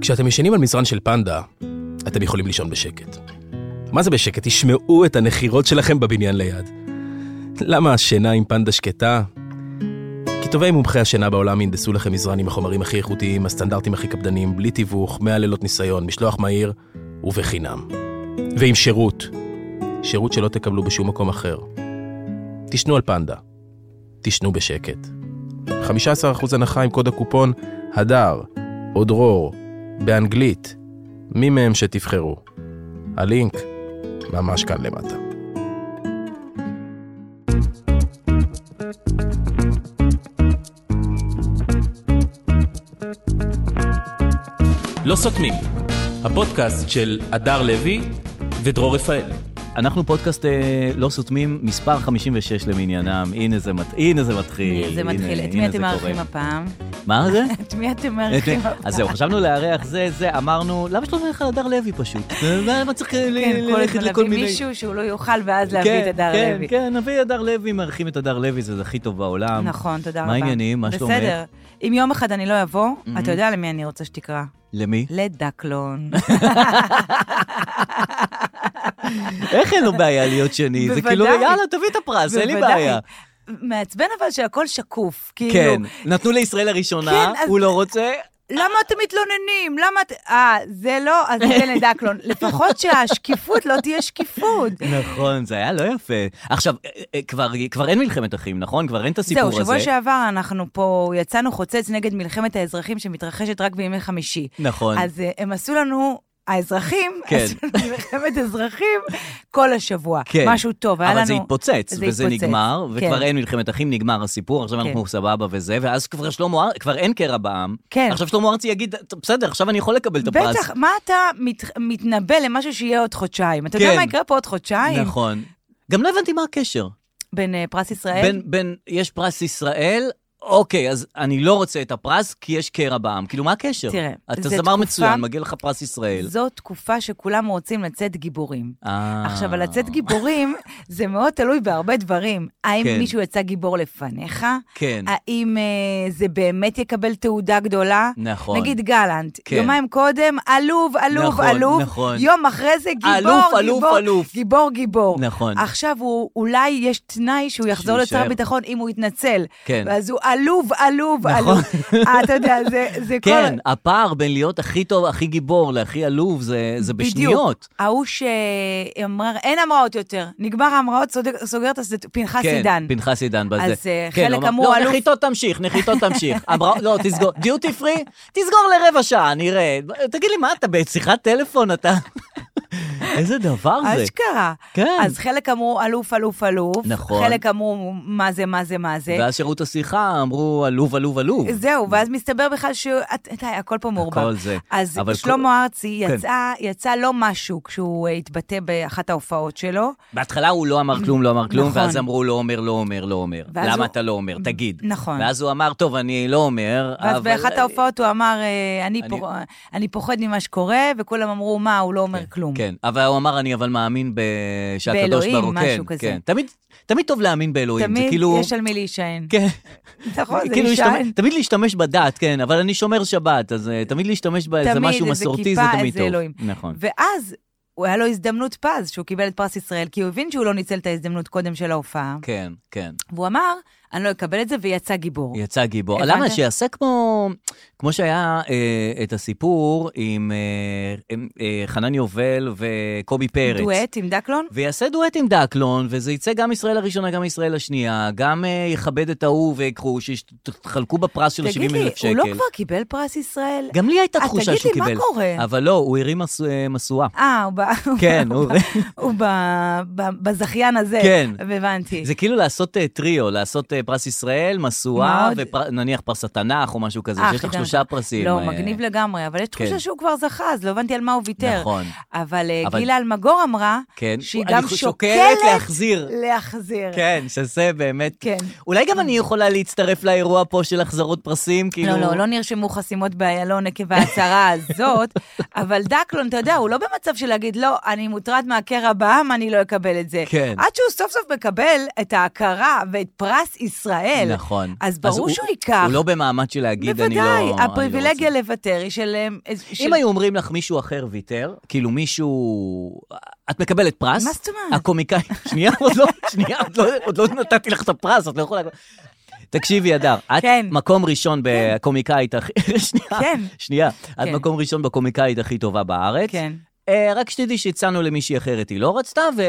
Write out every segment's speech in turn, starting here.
כשאתם ישנים על מזרן של פנדה, אתם יכולים לישון בשקט. מה זה בשקט? תשמעו את הנחירות שלכם בבניין ליד. למה השינה עם פנדה שקטה? כי טובי מומחי השינה בעולם ינדסו לכם מזרן עם החומרים הכי איכותיים, הסטנדרטים הכי קפדניים, בלי תיווך, 100 לילות ניסיון, משלוח מהיר ובחינם. ועם שירות. שירות שלא תקבלו בשום מקום אחר. תשנו על פנדה. תשנו בשקט. 15% הנחה עם קוד הקופון הדר או דרור באנגלית, מי מהם שתבחרו. הלינק ממש כאן למטה. לא סותמים, הפודקאסט של הדר לוי ודרור רפאל. אנחנו פודקאסט אה, לא סותמים, מספר 56 למניינם, הנה זה, מת, הנה זה מתחיל. אה, זה מתחיל. אה, הנה- את מי הנה אתם זה מארחים קורה. הפעם? מה זה? את מי אתם מארחים הפעם? אז זהו, חשבנו לארח זה, זה, אמרנו, למה שלא נלך על הדר לוי פשוט? למה צריך אה, ל- כן, כל ללכת הזמן לכל להביא מיני... מישהו שהוא לא יאכל ואז להביא את הדר כן, לוי. כן, כן, נביא הדר לוי, מארחים את הדר לוי, זה הכי טוב בעולם. נכון, תודה מה רבה. העניינים? מה שלומך? בסדר. אם יום אחד אני לא אבוא, Mhm. אתה יודע למי אני רוצה שתקרא. למי? לדקלון. איך אין לו בעיה להיות שני? זה בוודאי. כאילו, יאללה, תביא את הפרס, אין לי בוודאי. בעיה. מעצבן אבל שהכל שקוף. כאילו, כן, נתנו לישראל הראשונה, כן, אז- הוא לא רוצה, למה אתם מתלוננים? למה את... אה, זה לא, אז ניתן לדקלון. לפחות שהשקיפות לא תהיה שקיפות. נכון, זה היה לא יפה. עכשיו, אה, אה, כבר, כבר אין מלחמת אחים, נכון? כבר אין את הסיפור זהו, הזה. שבוע שעבר אנחנו פה יצאנו חוצץ נגד מלחמת האזרחים שמתרחשת רק בימי חמישי. נכון. אז... אז אה, הם עשו לנו, האזרחים, כן. עשו לנו מלחמת אזרחים כל השבוע. כן. משהו טוב, היה אבל לנו... זה התפוצץ, זה וזה התפוצץ, נגמר, כן. וכבר אין מלחמת אחים, נגמר הסיפור, עכשיו כן. אנחנו סבבה וזה, ואז כבר שלמה ארצי, כבר אין קרע בעם. כן. עכשיו שלמה ארצי יגיד, "טוב, בסדר, עכשיו אני יכול לקבל את הפרס. בטח, מה אתה מת, מתנבא למשהו שיהיה עוד חודשיים? אתה כן. יודע מה יקרה פה עוד חודשיים? נכון. גם לא הבנתי מה הקשר. בין אה, פרס ישראל? בין, בין, יש פרס ישראל, אוקיי, אז אני לא רוצה את הפרס, כי יש קרע בעם. כאילו, מה הקשר? תראה, אתה זה זמר תקופה- מצוין, מגיע לך פרס ישראל. זו תקופה שכולם רוצים לצאת גיבורים. אה. עכשיו, על לצאת גיבורים, זה מאוד תלוי בהרבה דברים. האם כן. מישהו יצא גיבור לפניך? כן, האם אה, זה באמת יקבל תעודה גדולה? נכון. נגיד גלנט, כן. יומיים קודם, עלוב, עלוב, נכון, עלוב, נכון. יום אחרי זה גיבור, אלוף, אלוף, גיבור, אלוף. גיבור, גיבור. נכון. עכשיו הוא, אולי יש תנאי שהוא יחזור שהוא לשר יישאר. הביטחון אם הוא יתנצל. כן. ואז הוא עלוב, עלוב, נכון. עלוב. אה, אתה יודע, זה, זה כל... כן, הפער בין להיות הכי טוב, הכי גיבור להכי עלוב, זה, זה בשניות. בדיוק. ההוא שאמר, אין המראות יותר. נגמר ההמראות, סוגר- סוגר את הסד... פנחס כן, עידן. פנחס עידן בזה. אז, אה, כן, חלק הוא אמר, אמרו לא, אלוף- נחיתות תמשיך, נחיתות תמשיך. אמרה, לא, תסגור, דיוטי פרי, תסגור לרבע שעה, נראה. תגיד לי, מה, אתה בשיחת טלפון, אתה... איזה דבר זה. אשכרה. כן. אז חלק אמרו אלוף, אלוף, אלוף. נכון. חלק אמרו מה זה, מה זה, מה זה. ואז שירות השיחה אמרו, עלוב, עלוב, עלוב. זהו, ואז מסתבר בכלל ש... אתה יודע, הכל פה מעורבב. הכל זה. אז אבל שלמה ארצי כן. יצא, יצא לא משהו כשהוא אה, התבטא באחת ההופעות שלו. בהתחלה הוא לא אמר כלום, לא אמר כלום, נכון. ואז אמרו, לא אומר, לא אומר, לא אומר. ואז למה הוא- אתה לא אומר? תגיד. נכון. ואז הוא אמר, טוב, אני לא אומר, אבל... ואז באחת ההופעות הוא אמר, אה, אני אני- פוח- אני פוחד ממה שקורה, וכולם אמרו, מה, הוא לא אומר כלום. כן, אבל הוא אמר, אני אבל מאמין ב... שהקדוש ברוך באלוהים, הוא... משהו כן, כזה. כן. תמיד, תמיד טוב להאמין באלוהים, זה תמיד כאילו... יש על מי להישען. כן, נכון, זה כאילו להישען. להשתמש- תמיד להשתמש בדת, כן, אבל אני שומר שבת, אז אה, תמיד להשתמש באיזה תמיד משהו איזה מסורתי, זה כיפה, תמיד איזה טוב. אלוהים. נכון. ואז הוא היה לו הזדמנות פז שהוא קיבל את פרס ישראל, כי הוא הבין שהוא לא ניצל את ההזדמנות קודם של ההופעה. כן, כן. והוא אמר, אני לא אקבל את זה, ויצא גיבור. יצא גיבור. הבנת? למה? שיעשה כמו... כמו שהיה אה, את הסיפור עם אה, אה, חנן יובל וקובי פרץ. דואט עם דקלון? ויעשה דואט עם דקלון, וזה יצא גם ישראל הראשונה, גם ישראל השנייה, גם אה, יכבד את ההוא ויקחו, שיחלקו בפרס של תגיד לי, 70,000 שקל. הוא לא כבר קיבל פרס ישראל? גם לי הייתה אה, תחושה תגיד שהוא לי, מה קיבל. קורה? אבל לא, הוא הרים מס- אה, משואה. אה, הוא ב- כן, הוא... הוא ב- ב- בזכיין הזה. כן. הבנתי. זה כאילו לעשות אה, טריו, לעשות אה, פרס ישראל, מה משואה, עוד? ונניח פרס התנ"ך או משהו כזה, אה, שיש לך חידנת. שלושה פרסים. לא, אה, מגניב לגמרי, אבל יש כן. תחושה שהוא כבר זכה, אז לא הבנתי על מה הוא ויתר. נכון. אבל אה, אבל- גילה אלמגור אמרה כן. שהיא אני גם חו- שוקלת להחזיר. להחזיר. כן, שזה באמת... כן. אולי גם אני יכולה להצטרף לאירוע פה של החזרות פרסים, כאילו... לא, לא, לא נרשמו חסימות באיילון עקב ההצהרה הזאת, אבל דקלון, אתה יודע, הוא לא במצב של להגיד, לא, אני מוטרד מהקרע בעם, אני לא אקבל את זה. כן. עד שהוא סוף סוף מקבל את ההכרה ואת פרס ישראל. נכון. אז ברור הוא- שהוא ייקח. הוא לא במעמד של להגיד, אני לא... אני לא בוודאי, רוצה." הפריבילגיה לוותר היא של... אמ, איז- של- אם היו אומרים לך מישהו אחר ויתר, כאילו מישהו... את מקבלת פרס. מה זאת אומרת? הקומיקאי... שנייה, עוד לא, שנייה, עוד לא, עוד לא נתתי לך את הפרס, את לא יכולה... תקשיבי, אדר, את כן. מקום ראשון בקומיקאית הכי... שנייה, כן, שנייה. את כן. מקום ראשון בקומיקאית הכי טובה בארץ. כן. אה, רק שתדעי שהצענו למישהי אחרת, היא לא רצתה, ו...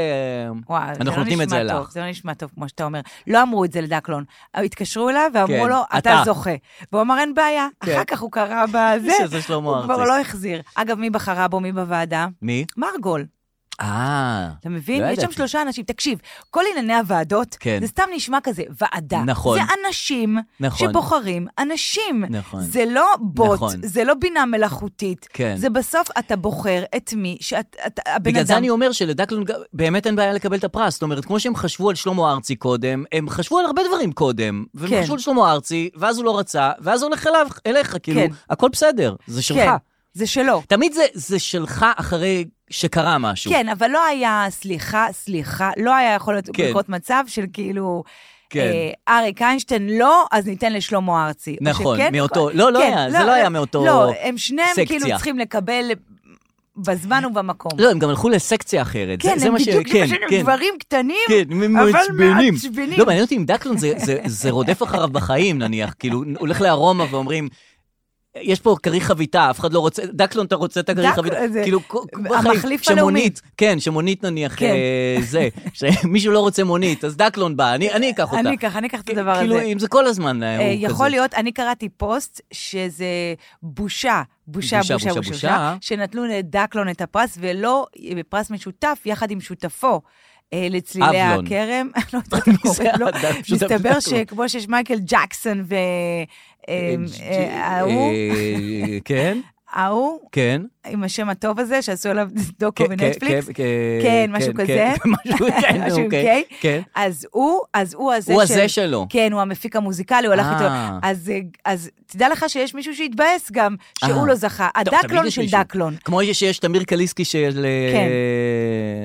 וואי, זה אנחנו לא נותנים את נשמע זה טוב, לך. זה לא נשמע טוב, כמו שאתה אומר. לא אמרו את זה לדקלון. התקשרו אליו כן, ואמרו לו, אתה. אתה זוכה. והוא אמר, אין בעיה. כן. אחר כך הוא קרא בזה, שזה שלמה הוא כבר ארצי. לא החזיר. אגב, מי בחרה בו, מי בוועדה? מי? מרגול. אה, אתה מבין? לא יש שם ידעתי. שלושה אנשים. תקשיב, כל ענייני הוועדות, כן. זה סתם נשמע כזה, ועדה. נכון. זה אנשים נכון. שבוחרים אנשים. נכון. זה לא בוט, נכון. זה לא בינה מלאכותית. כן. זה בסוף אתה בוחר את מי שאת, את, הבן בגלל אדם... זה אני אומר שלדקלון גם- באמת אין בעיה לקבל את הפרס. זאת אומרת, כמו שהם חשבו על שלמה ארצי קודם, הם חשבו על הרבה דברים קודם, והם כן. חשבו על שלמה ארצי, ואז הוא לא רצה, ואז הוא הולך אליו, אליך, כאילו, כן. הכל בסדר, זה שלך. כן, זה שלו. תמיד זה, זה שלך אחרי שקרה משהו. כן, אבל לא היה, סליחה, סליחה, לא היה יכול להיות כן. לקרות מצב של כאילו... כן. אה, אריק איינשטיין לא, אז ניתן לשלמה ארצי. או נכון, שכן- מאותו- לא, לא היה, זה לא היה מאותו לא, הם שניהם כאילו סקציה. צריכים לקבל בזמן ובמקום. לא, הם גם הלכו לסקציה אחרת. כן, זה, זה הם מה ש... בדיוק כן, משנים כן. דברים קטנים, כן, הם אבל מעצבנים. מעצבנים. לא, מעניין אותי אם דקלון זה, זה, זה רודף אחריו בחיים, נניח, כאילו, הוא הולך לארומה ואומרים, יש פה כריך חביתה, אף אחד לא רוצה, דקלון, אתה רוצה את הכריך דק- חביתה? זה- כאילו, כל- בחיים, המחליף שמונית, הלאומי. כן, שמונית נניח, כן. אה, זה, שמישהו לא רוצה מונית, אז דקלון בא, אני אני אקח אותה. אני אקח, אני אקח את הדבר כאילו, הזה. אם זה כל הזמן, אה, אה, הוא כזה. יכול להיות, אני קראתי פוסט שזה בושה, בושה, בושה, בושה, בושה, בושה, בושה. בושה, שנתנו לדקלון את הפרס, ולא בפרס משותף, יחד עם שותפו. אה, לצלילי אבלון. הכרם, לא יודעת איך זה קוראים לו, הדף משותף מסתבר לדקלון. שכמו שיש מייקל ג'קסון אה, וההוא, אה, כן, ההוא, כן. עם השם הטוב הזה, שעשו עליו דוקו כן, בנטפליקס, כן, כן, כן, משהו כן, כזה. כן, משהו, כן, משהו עם אוקיי, K. כן. אז הוא, אז הוא הזה הוא של- הזה שלו. כן, הוא המפיק המוזיקלי, הוא הלך אה. איתו. אז, אה, אז תדע לך שיש מישהו שהתבאס גם, אה. שהוא לא זכה. טוב, תמיד הדקלון יש של מישהו. דקלון. כמו שיש- שיש תמיר קליסקי של אה, כן.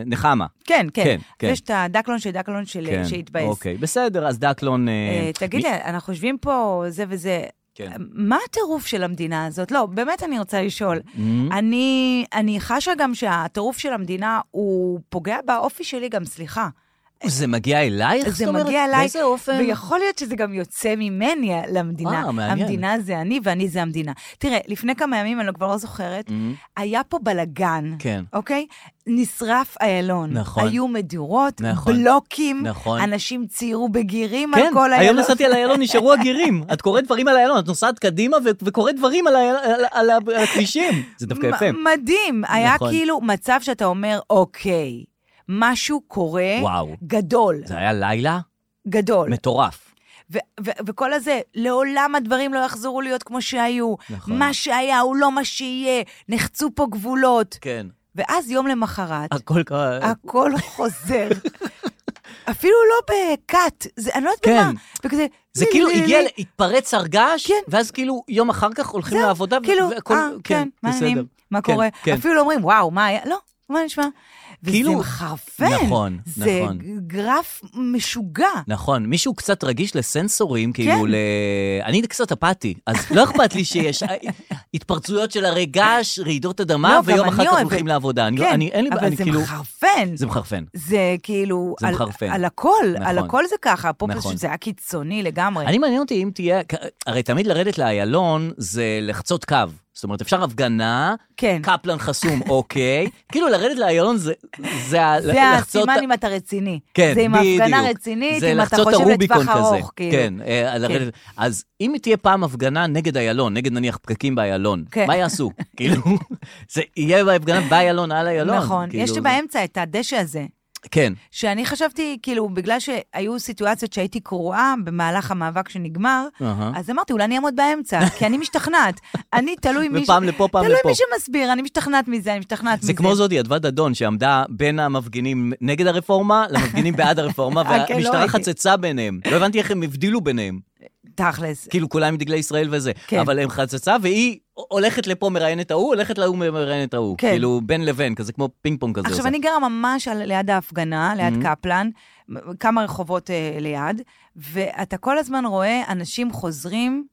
נחמה. כן, כן, כן. כן, כן. יש את הדקלון של דקלון של, כן, שהתבאס. אוקיי, בסדר, אז דקלון... אה, אה, תגיד, מי- לי, אנחנו יושבים פה זה וזה. כן. מה הטירוף של המדינה הזאת? לא, באמת אני רוצה לשאול. מ- אני, אני חשה גם שהטירוף של המדינה הוא פוגע באופי שלי גם, סליחה. זה מגיע אלייך? אה, זה זאת אומרת? מגיע אליי, באיזה אופן? ויכול להיות שזה גם יוצא ממני למדינה. אה, מעניין. המדינה זה אני ואני זה המדינה. תראה, לפני כמה ימים, אני כבר לא זוכרת, מ- היה פה בלגן, Mm. כן. אוקיי? נשרף איילון. נכון. היו מדורות, נכון. בלוקים, נכון. אנשים ציירו בגירים כן, על כל איילון. היום נסעתי על איילון, נשארו הגירים. את קוראת דברים על איילון, את נוסעת קדימה ו- וקוראת דברים על האיל- על- על ה- על הכבישים. זה דווקא יפה. מ- מדהים, היה נכון. כאילו מצב שאתה אומר, אוקיי, משהו קורה וואו. גדול, זה היה לילה גדול. מטורף. ו- ו- וכל הזה, לעולם הדברים לא יחזרו להיות כמו שהיו. נכון. נכון. מה שהיה הוא לא מה שיהיה, נחצו פה גבולות. כן. ואז יום למחרת, הכל קרה. הכל חוזר. אפילו לא בקאט, זה, אני לא יודעת כן. במה. וכזה, זה לי, כאילו לי, לי, הגיע, לי. התפרץ הרגש, כן. ואז כאילו יום אחר כך הולכים זהו, לעבודה, ו- כאילו, והכל, אה, כן, מה בסדר. העניינים? מה כן, קורה? כן. אפילו לא אומרים, וואו, מה היה? לא, מה נשמע? כאילו- וזה מחרפן. נכון, זה נכון. גרף משוגע. נכון, מישהו קצת רגיש לסנסורים, כאילו כן. ל... אני קצת אפאתי, אז לא אכפת לי שיש התפרצויות של הרי געש, רעידות אדמה, לא, ויום גם אחר אני כך אוהבת. הולכים לעבודה. אני לא- כן, אני- אין לי- אבל אני זה כאילו- מחרפן. זה מחרפן. זה כאילו, זה על, מחרפן. על הכל, על נכון. הכל זה ככה, פה נכון. פשוט זה היה קיצוני לגמרי. אני מעניין אותי אם תהיה... הרי תמיד לרדת לאיילון זה לחצות קו. זאת אומרת, אפשר הפגנה, כן. קפלן חסום, אוקיי. כאילו לרדת לאיילון זה... זה ה- זה לחצות- הסימן אם אתה רציני. כן, זה עם בדיוק. הפגנה רצינית, זה אם אתה לחצות את חושב הרוביקון לטווח כזה. ארוך, כאילו. כן, אה, לרדת. אז אם תהיה פעם הפגנה נגד איילון, נגד נניח פקקים באיילון, כן. מה יעשו? כאילו, זה יהיה בהפגנה באיילון, על איילון. נכון. כאילו, יש זה- באמצע את הדשא הזה, כן, שאני חשבתי, כאילו, בגלל שהיו סיטואציות שהייתי קרועה במהלך המאבק שנגמר, אהה. אז אמרתי, אולי אני אעמוד באמצע, כי אני משתכנעת. אני, תלוי מי... ש- ופעם לפה, פעם תלוי לפה. מי שמסביר, אני משתכנעת מזה, אני משתכנעת מזה. זה כמו זאתי, אדוות דדון, שעמדה בין המפגינים נגד הרפורמה למפגינים בעד הרפורמה, אה, כן, לא והמשטרה ראיתי. חצצה ביניהם. לא הבנתי איך הם הבדילו ביניהם. תכלס. כאילו, כולם עם דגלי ישראל וזה. כן. אבל הם חצצה, והיא הולכת לפה מראיינת ההוא, הולכת להוא מראיינת ההוא. כן. כאילו, בין לבין, כזה כמו פינג פונג כזה. עכשיו, עושה. Mm-hmm. אני גרה ממש על- ליד ההפגנה, ליד קפלן, כמה רחובות אה, ליד, ואתה כל הזמן רואה אנשים חוזרים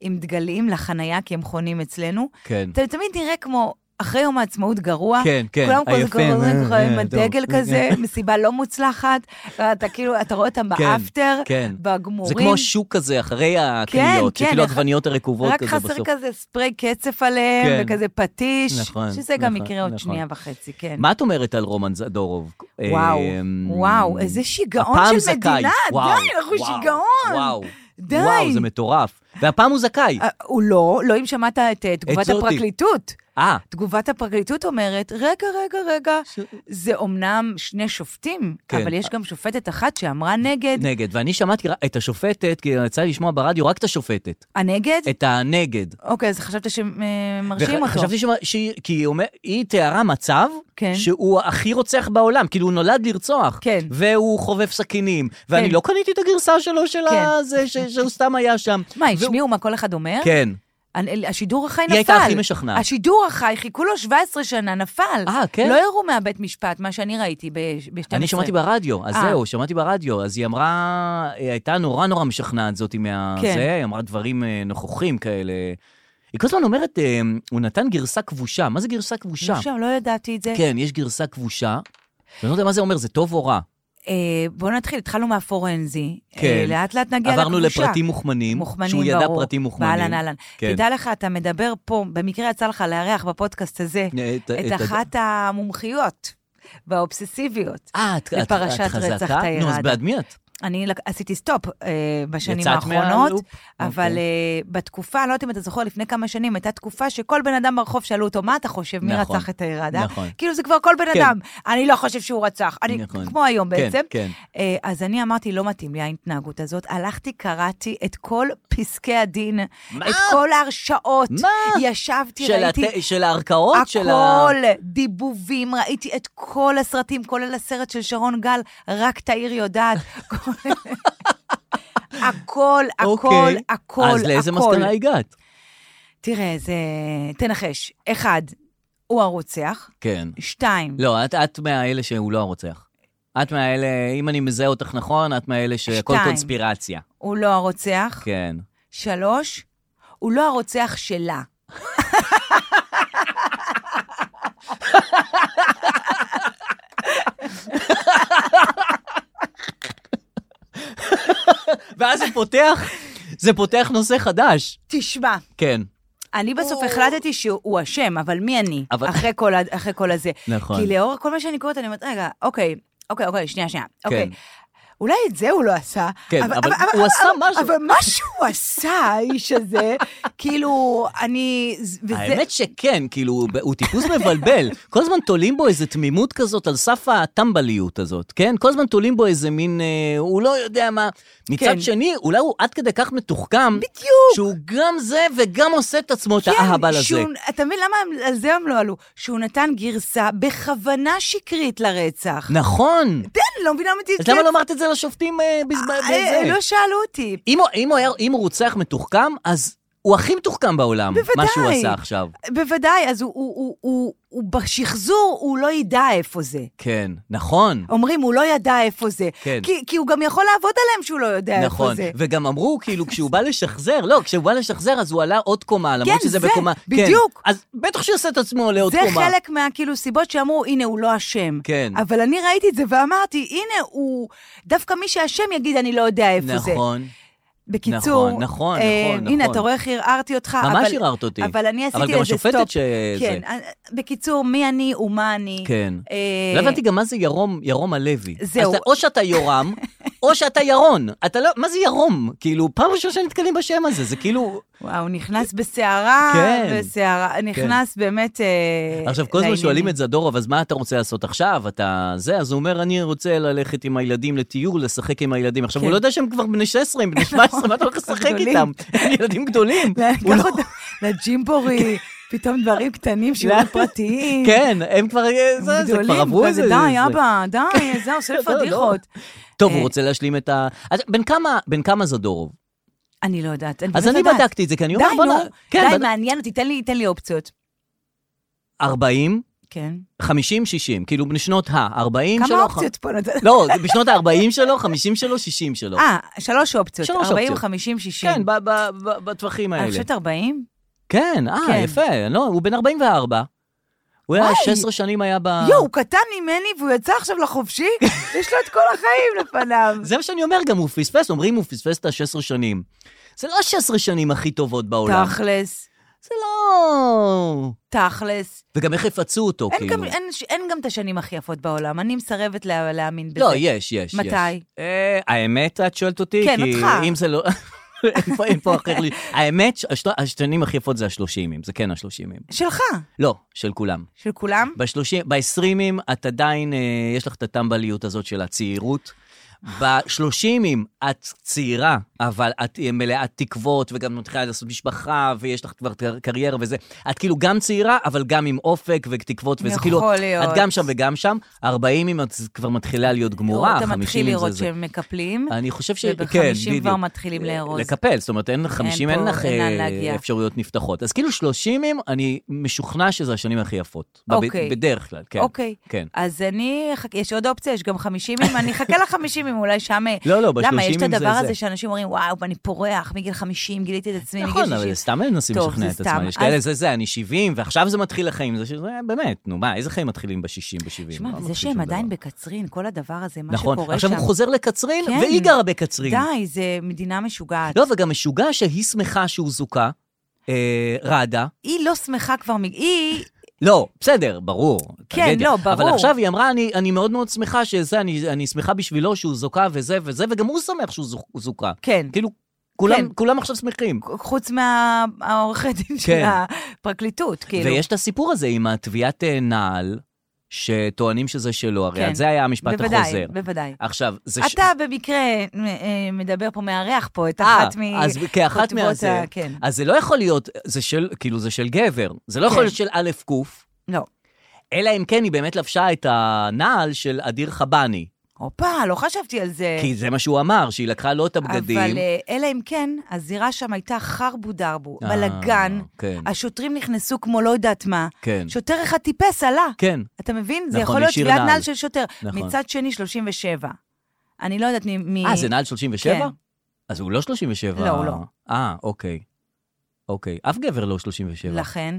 עם דגלים לחנייה, כי הם חונים אצלנו. כן. אתה תמיד נראה כמו אחרי יום העצמאות גרוע. כן, כן, כולם כל הזמן עייפים, קוראים לך אה, עם אה, טוב. הדגל כזה, מסיבה לא מוצלחת, ואתה כאילו, אתה רואה אותם כן, באפטר, כן. בגמורים. זה כמו שוק כזה, אחרי הקניות, כן, שכאילו אח- עגבניות הרקובות רק כזה חסר בסוף. כזה ספרי קצף עליהם, כן. וכזה פטיש, נכון, שזה גם נכון, יקרה עוד נכון. שנייה וחצי, כן. מה את אומרת על רומן זדורוב? וואו, אמ, וואו, איזה שיגעון הפעם של זכאי. מדינה, וואו, די, אנחנו וואו, שיגעון. וואו, די. וואו, זה מטורף. והפעם הוא זכאי. אה, הוא לא, לא אם שמעת את אה, תגובת זאתי. הפרקליטות. אה, תגובת הפרקליטות אומרת, רגע, רגע, רגע, זה אומנם שני שופטים, כן. אבל יש גם שופטת אחת שאמרה נגד. נגד. ואני שמעתי רק- את השופטת, כי יצא לי לשמוע ברדיו רק את השופטת. הנגד? את הנגד. אוקיי, אז חשבת שמרשים אותו. וחשבתי שמה- שהיא, כי היא אומר- היא תיארה מצב כן. שהוא הכי רוצח בעולם, כאילו הוא נולד לרצוח. כן. והוא חובב סכינים. ואני כן. לא קניתי את הגרסה שלו, של כן. אה, הזה, ש- שהוא סתם היה שם. מה, והוא- השמיעו מה כל אחד אומר? כן. הנ- השידור החי נפל. היא הייתה הכי משכנעת. השידור החי, חיכו לו 17 שנה, נפל. אה, כן? לא הראו מהבית משפט, מה שאני ראיתי ב-12. אני שמעתי ברדיו, אז אה. זהו, שמעתי ברדיו. אז היא אמרה, היא הייתה נורא נורא משכנעת זאתי מה... כן. זה, היא אמרה דברים אה, נוכחים כאלה. היא כל הזמן אומרת, אה, הוא נתן גרסה כבושה. מה זה גרסה כבושה? שם, לא ידעתי את זה. כן, יש גרסה כבושה. ואני לא יודע מה זה אומר, זה טוב או רע. אה, בואו נתחיל, התחלנו מהפורנזי. כן. אה, לאט לאט נגיע לכבושה. עברנו לפרטים מוכמנים, מוכמנים, שהוא ידע ברור. פרטים מוכמנים. באהלן, אהלן. כן. תדע לך, אתה מדבר פה, במקרה יצא לך לארח בפודקאסט הזה, אה, את, את אחת המומחיות והאובססיביות. אה, את, את, לפרשת את חזקה? רצח נו, אז תאיר בעד מי את? אני לק- עשיתי סטופ אה, בשנים יצאת האחרונות, מהלופ? אבל אוקיי. אה, בתקופה, לא יודעת אם אתה זוכר, לפני כמה שנים, הייתה תקופה שכל בן אדם ברחוב שאלו אותו, מה אתה חושב, מי נכון, רצח את האיראדה? נכון. כאילו זה כבר כל בן כן. אדם, אני לא חושב שהוא רצח, אני, נכון. כמו היום כן, בעצם. כן. אה, אז אני אמרתי, לא מתאים לי ההתנהגות הזאת. הלכתי, קראתי את כל פסקי הדין, מה? את כל ההרשעות. מה? ישבתי, של, ראיתי... הת... של הערכאות? של ה... הכל, דיבובים, ראיתי את כל הסרטים, כולל הסרט של שרון גל, רק תאיר יודעת. כל- הכל, הכל, אוקיי. הכל, אז לאיזה הכל. מסקנה הגעת? תראה, זה... תנחש. אחד, הוא הרוצח. כן. שתיים, לא, את, את מהאלה שהוא לא הרוצח. את מהאלה, אם אני מזהה אותך נכון, את מהאלה שהכל שתיים. קונספירציה. הוא לא הרוצח. כן. שלוש, הוא לא הרוצח שלה. ואז זה פותח, זה פותח נושא חדש. תשמע, כן. אני בסוף החלטתי שהוא אשם, אבל מי אני? אבל- אחרי כל ה- אחרי כל הזה. נכון. כי לאור כל מה שאני קוראת, אני אומרת, רגע, אוקיי, אוקיי, אוקיי, שנייה, שנייה. אוקיי. כן. אולי את זה הוא לא עשה. כן, אבל הוא עשה משהו. אבל מה שהוא עשה, האיש הזה, כאילו, אני... וזה- האמת שכן, כאילו, הוא- הוא טיפוס מבלבל. כל הזמן תולים בו איזו תמימות כזאת על סף הטמבליות הזאת, כן? כל הזמן תולים בו איזה מין, אה, הוא לא יודע מה. מצד כן. שני, אולי הוא עד כדי כך מתוחכם, בדיוק. כן, שהוא גם זה וגם עושה את עצמו את האהבל הזה. שהוא- אתה מבין למה הם- על זה הם לא עלו? שהוא נתן גרסה בכוונה שקרית לרצח. נכון. אני לא מבינה מה אז למה לא אמרת את זה לשופטים אה, בזמן... בזה? לא שאלו אותי. אם הוא- אם הוא היה- אם הוא רוצח מתוחכם, אז הוא הכי מתוחכם בעולם, מה שהוא בוודאי. עשה עכשיו. בוודאי, אז הוא, הוא, הוא, הוא, הוא בשחזור, הוא לא ידע איפה זה. כן, נכון. אומרים, הוא לא ידע איפה זה. כן. כי, כי הוא גם יכול לעבוד עליהם שהוא לא יודע נכון, איפה זה. וגם אמרו, כאילו, כשהוא בא לשחזר, לא, כשהוא בא לשחזר, אז הוא עלה עוד קומה, למרות כן, שזה זה, בקומה... בדיוק. כן, אז בטח שהוא יעשה את עצמו לעוד זה קומה. חלק מהכאילו סיבות שאמרו, הנה, הוא לא אשם. כן. אבל אני ראיתי את זה ואמרתי, הנה, הוא... דווקא מי שאשם יגיד, אני לא יודע איפה זה. נכון. בקיצור, אה, נכון, נכון, נכון, הנה, נכון. אתה רואה איך ערערתי אותך. ממש אה, אבל- ערערת אותי. אבל אני עשיתי אבל איזה גם סטופ. השופטת שזה- כן, אה, בקיצור, מי אני ומה אני. כן. אה, לא הבנתי גם מה זה ירום, ירום הלוי. זהו. אז אתה- או שאתה יורם, או שאתה ירון. אתה לא, מה זה ירום? כאילו, פעם ראשונה שנתקלים בשם הזה, זה כאילו... וואו, נכנס בסערה, כן. בסערה, נכנס באמת... אה, עכשיו, כל הזמן שואלים לעניינים. את זדורוב, אז מה אתה רוצה לעשות עכשיו? אתה זה? אז הוא אומר, אני רוצה ללכת עם הילדים לטיול, לשחק עם הילדים. עכשיו, כן. הוא לא יודע שהם כבר בני 16, הם בני 17, מה אתה הולך לשחק גדולים. איתם? הם ילדים גדולים. הוא לקח לא- אותם לג'ימבורי, פתאום דברים קטנים, שיעורים פרטיים. כן, הם כבר... זה, זה כבר גדולים, עברו כזה, איזה... די, זה- אבא, די, זה עושה לא, לא. פדיחות. טוב, הוא אה. רוצה להשלים את ה... אז בן כמה- בן כמה זדורוב? אני לא יודעת, אני אז באמת אני יודעת. בדקתי את זה, כי אני די, אומר, כן, נו, בוא'נה... כן, די, בד- מעניין אותי, תן לי- תן לי אופציות. 40, כן. 50-60, כאילו בשנות ה-40 שלו. כמה אופציות פה נתת? לא, זה בשנות ה-40 שלו, 50 שלו, 60 שלו. אה, שלוש אופציות. לא. שלוש 40, אופציות. 50, 60. כן, ב- ב- ב- בטווחים אני האלה. חושבת 40? כן, אה, כן. יפה, לא, הוא בן 44. הוא היה וואי. 16 שנים היה ב... יואו, הוא קטן ממני והוא יצא עכשיו לחופשי? יש לו את כל החיים לפניו. זה מה שאני אומר, גם הוא פספס, אומרים הוא פספס את ה-16 שנים. זה לא ה-16 שנים הכי טובות בעולם. תכלס, זה לא... תכלס. וגם איך יפצו אותו, אין כאילו. גם- אין ש- אין גם את השנים הכי יפות בעולם, אני מסרבת לה- להאמין בזה. לא, יש, יש. מתי? יש. אה, האמת, את שואלת אותי? כן, כי אותך. אם זה לא... אין פה- אין פה אחר לי. האמת, השת- השנים הכי יפות זה השלושימים, זה כן השלושימים. שלך, לא, של כולם. של כולם. בשלושים, בעשרימים את עדיין, אה, יש לך את הטמבליות הזאת של הצעירות. בשלושימים את צעירה, אבל את אה, מלאת תקוות, וגם מתחילה לעשות משפחה, ויש לך כבר קר- קריירה וזה. את כאילו גם צעירה, אבל גם עם אופק ותקוות, וזה יכול כאילו... להיות. את גם שם וגם שם. ארבעימים את כבר מתחילה להיות גמורה, לא, אתה מתחיל חמישימים לראות זה זה. שהם מקפלים, אני חושב ש... כן, ובחמישים בדיוק. כבר מתחילים לארוז. לקפל, זאת אומרת, אין 50, אין פה, לך אין לאן אה, להגיע. אפשרויות נפתחות. אז כאילו 30, אני משוכנע שזה השנים הכי יפות. בב- אוקיי. בדרך כלל, כן. אוקיי. כן. אז אני, אחכה- יש עוד אופציה, יש גם חמישימים, אני אחכה לחמישימים, אולי שם... אה, לא, לא, למה, יש בשלושים את זה הדבר הזה זה. שאנשים אומרים, וואו, אני פורח מגיל 50, גיליתי את עצמי מגיל 60. נכון, אבל סתם מנסים טוב, לשכנע זה את עצמם. סתם. יש כאלה, אז- זה זה, אני 70, ועכשיו זה מתחיל לחיים. זה שזה, אה, באמת, נו מה, איזה חיים מתחילים לא ב-60, ב-70? שמע, וזה שהם עדיין בקצרין, כל הדבר הזה, מה שקורה שם. נכון, עכשיו הוא חוזר לקצרין, כן. והיא גרה בקצרין. די, זה מדינה משוגעת. לא, וגם משוגע שהיא שמחה שהוא זוכה, אה, רדה. היא לא שמחה כבר, מג- היא... לא, בסדר, ברור. כן, טרגדיה. לא, אבל ברור. עכשיו היא אמרה, אני, אני מאוד מאוד שמחה שזה, אני, אני שמחה בשבילו שהוא זוכה וזה וזה, וגם הוא שמח שהוא זוכ- זוכה. כן. כאילו, כולם, כן. כולם עכשיו שמחים. חוץ מהעורכי דין של כן. הפרקליטות, כאילו. ויש את הסיפור הזה עם התביעת אה, נעל, שטוענים שזה שלו, הרי כן. זה היה המשפט בוודאי, החוזר. בוודאי. עכשיו, זה... אתה במקרה אה, אה, מדבר פה, מארח פה את אה, אחת מ... אז כאחת כותבות מהזה. ה- כן. אז זה לא יכול להיות, זה של, כאילו, זה של גבר. זה לא יכול כן. להיות של א' ק', לא. אלא אם כן היא באמת לבשה את הנעל של אדיר חבני. הופה, לא חשבתי על זה. כי זה מה שהוא אמר, שהיא לקחה לו את הבגדים. אבל אה, אלא אם כן, הזירה שם הייתה חרבו דרבו, אה, בלאגן, כן, השוטרים נכנסו כמו לא יודעת מה. כן, שוטר אחד טיפס עלה. כן. אתה מבין? זה נכון, יכול להיות השאיר תביעת נעל. נעל של שוטר. נכון. מצד שני, 37. אני לא יודעת מי... מי- אה, זה נעל 37? כן. אז הוא לא 37. לא, הוא לא. אה, אוקיי. אוקיי, אף גבר לא 37. לכן.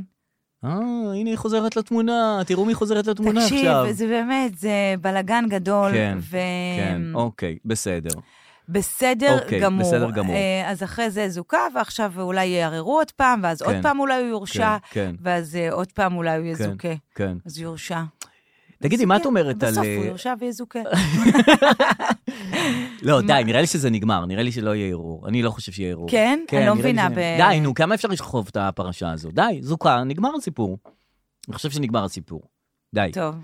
אה, הנה היא חוזרת לתמונה, תראו מי חוזרת לתמונה תקשיב, עכשיו. זה באמת, זה בלאגן גדול. כן, ו... כן, אוקיי, בסדר. בסדר אוקיי, גמור. בסדר גמור. אה, אז אחרי זה זוכה, ועכשיו אולי יערערו עוד פעם, ואז עוד כן. פעם אולי הוא כן, יורשע, כן, ואז אה, עוד פעם אולי הוא יזוכה. כן. אז הוא יורשע. כן, תגידי, מה את אומרת על... בסוף הוא אה, יורשע ויזוכה. לא, די, נראה לי שזה נגמר, נראה לי שלא יהיה ערעור. אני לא חושב שיהיה ערעור. כן? אני נראה לא לי מבינה ש- ב... די, נו, כמה אפשר לשכוב את הפרשה הזו? די, זוכה, נגמר הסיפור. אני חושב שנגמר הסיפור. די. טוב,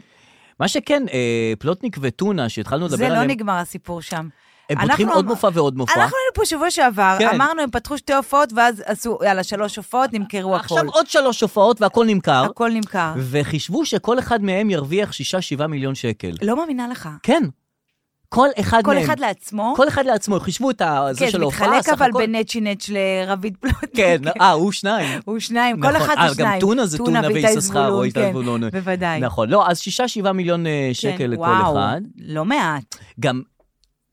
מה שכן, אה, פלוטניק וטונה, שהתחלנו לדבר זה עליהם, לא נגמר הסיפור שם. הם אנחנו פותחים עוד אמר- מופע ועוד מופע. אנחנו היינו פה שבוע שעבר, כן. אמרנו, הם פתחו שתי הופעות, ואז עשו, יאללה, שלוש הופעות, נמכרו עכשיו הכל. עוד שלוש הופעות והכל נמכר, הכל נמכר. וחישבו שכל אחד מהם ירוויח שישה, שבעה מיליון שקל. לא מאמינה לך. כן. כל אחד כל מהם. אחד לעצמו. כל אחד לעצמו, חישבו את ה- זה כן, זה של ההופעה, מתחלק סך אבל הכל. בין נצ'י נצ' לרביד פלוט. כן, אה, הוא שניים. הוא שניים, כל נכון. אחד אה, זה שניים. גם טונה זה טונה ואיתי ואיסס חרו, זבולון, איתי כן, זבולון. בוודאי. נכון, לא, אז שישה, שבעה מיליון אה, כן, שקל לכל וואו, אחד. לא מעט. גם,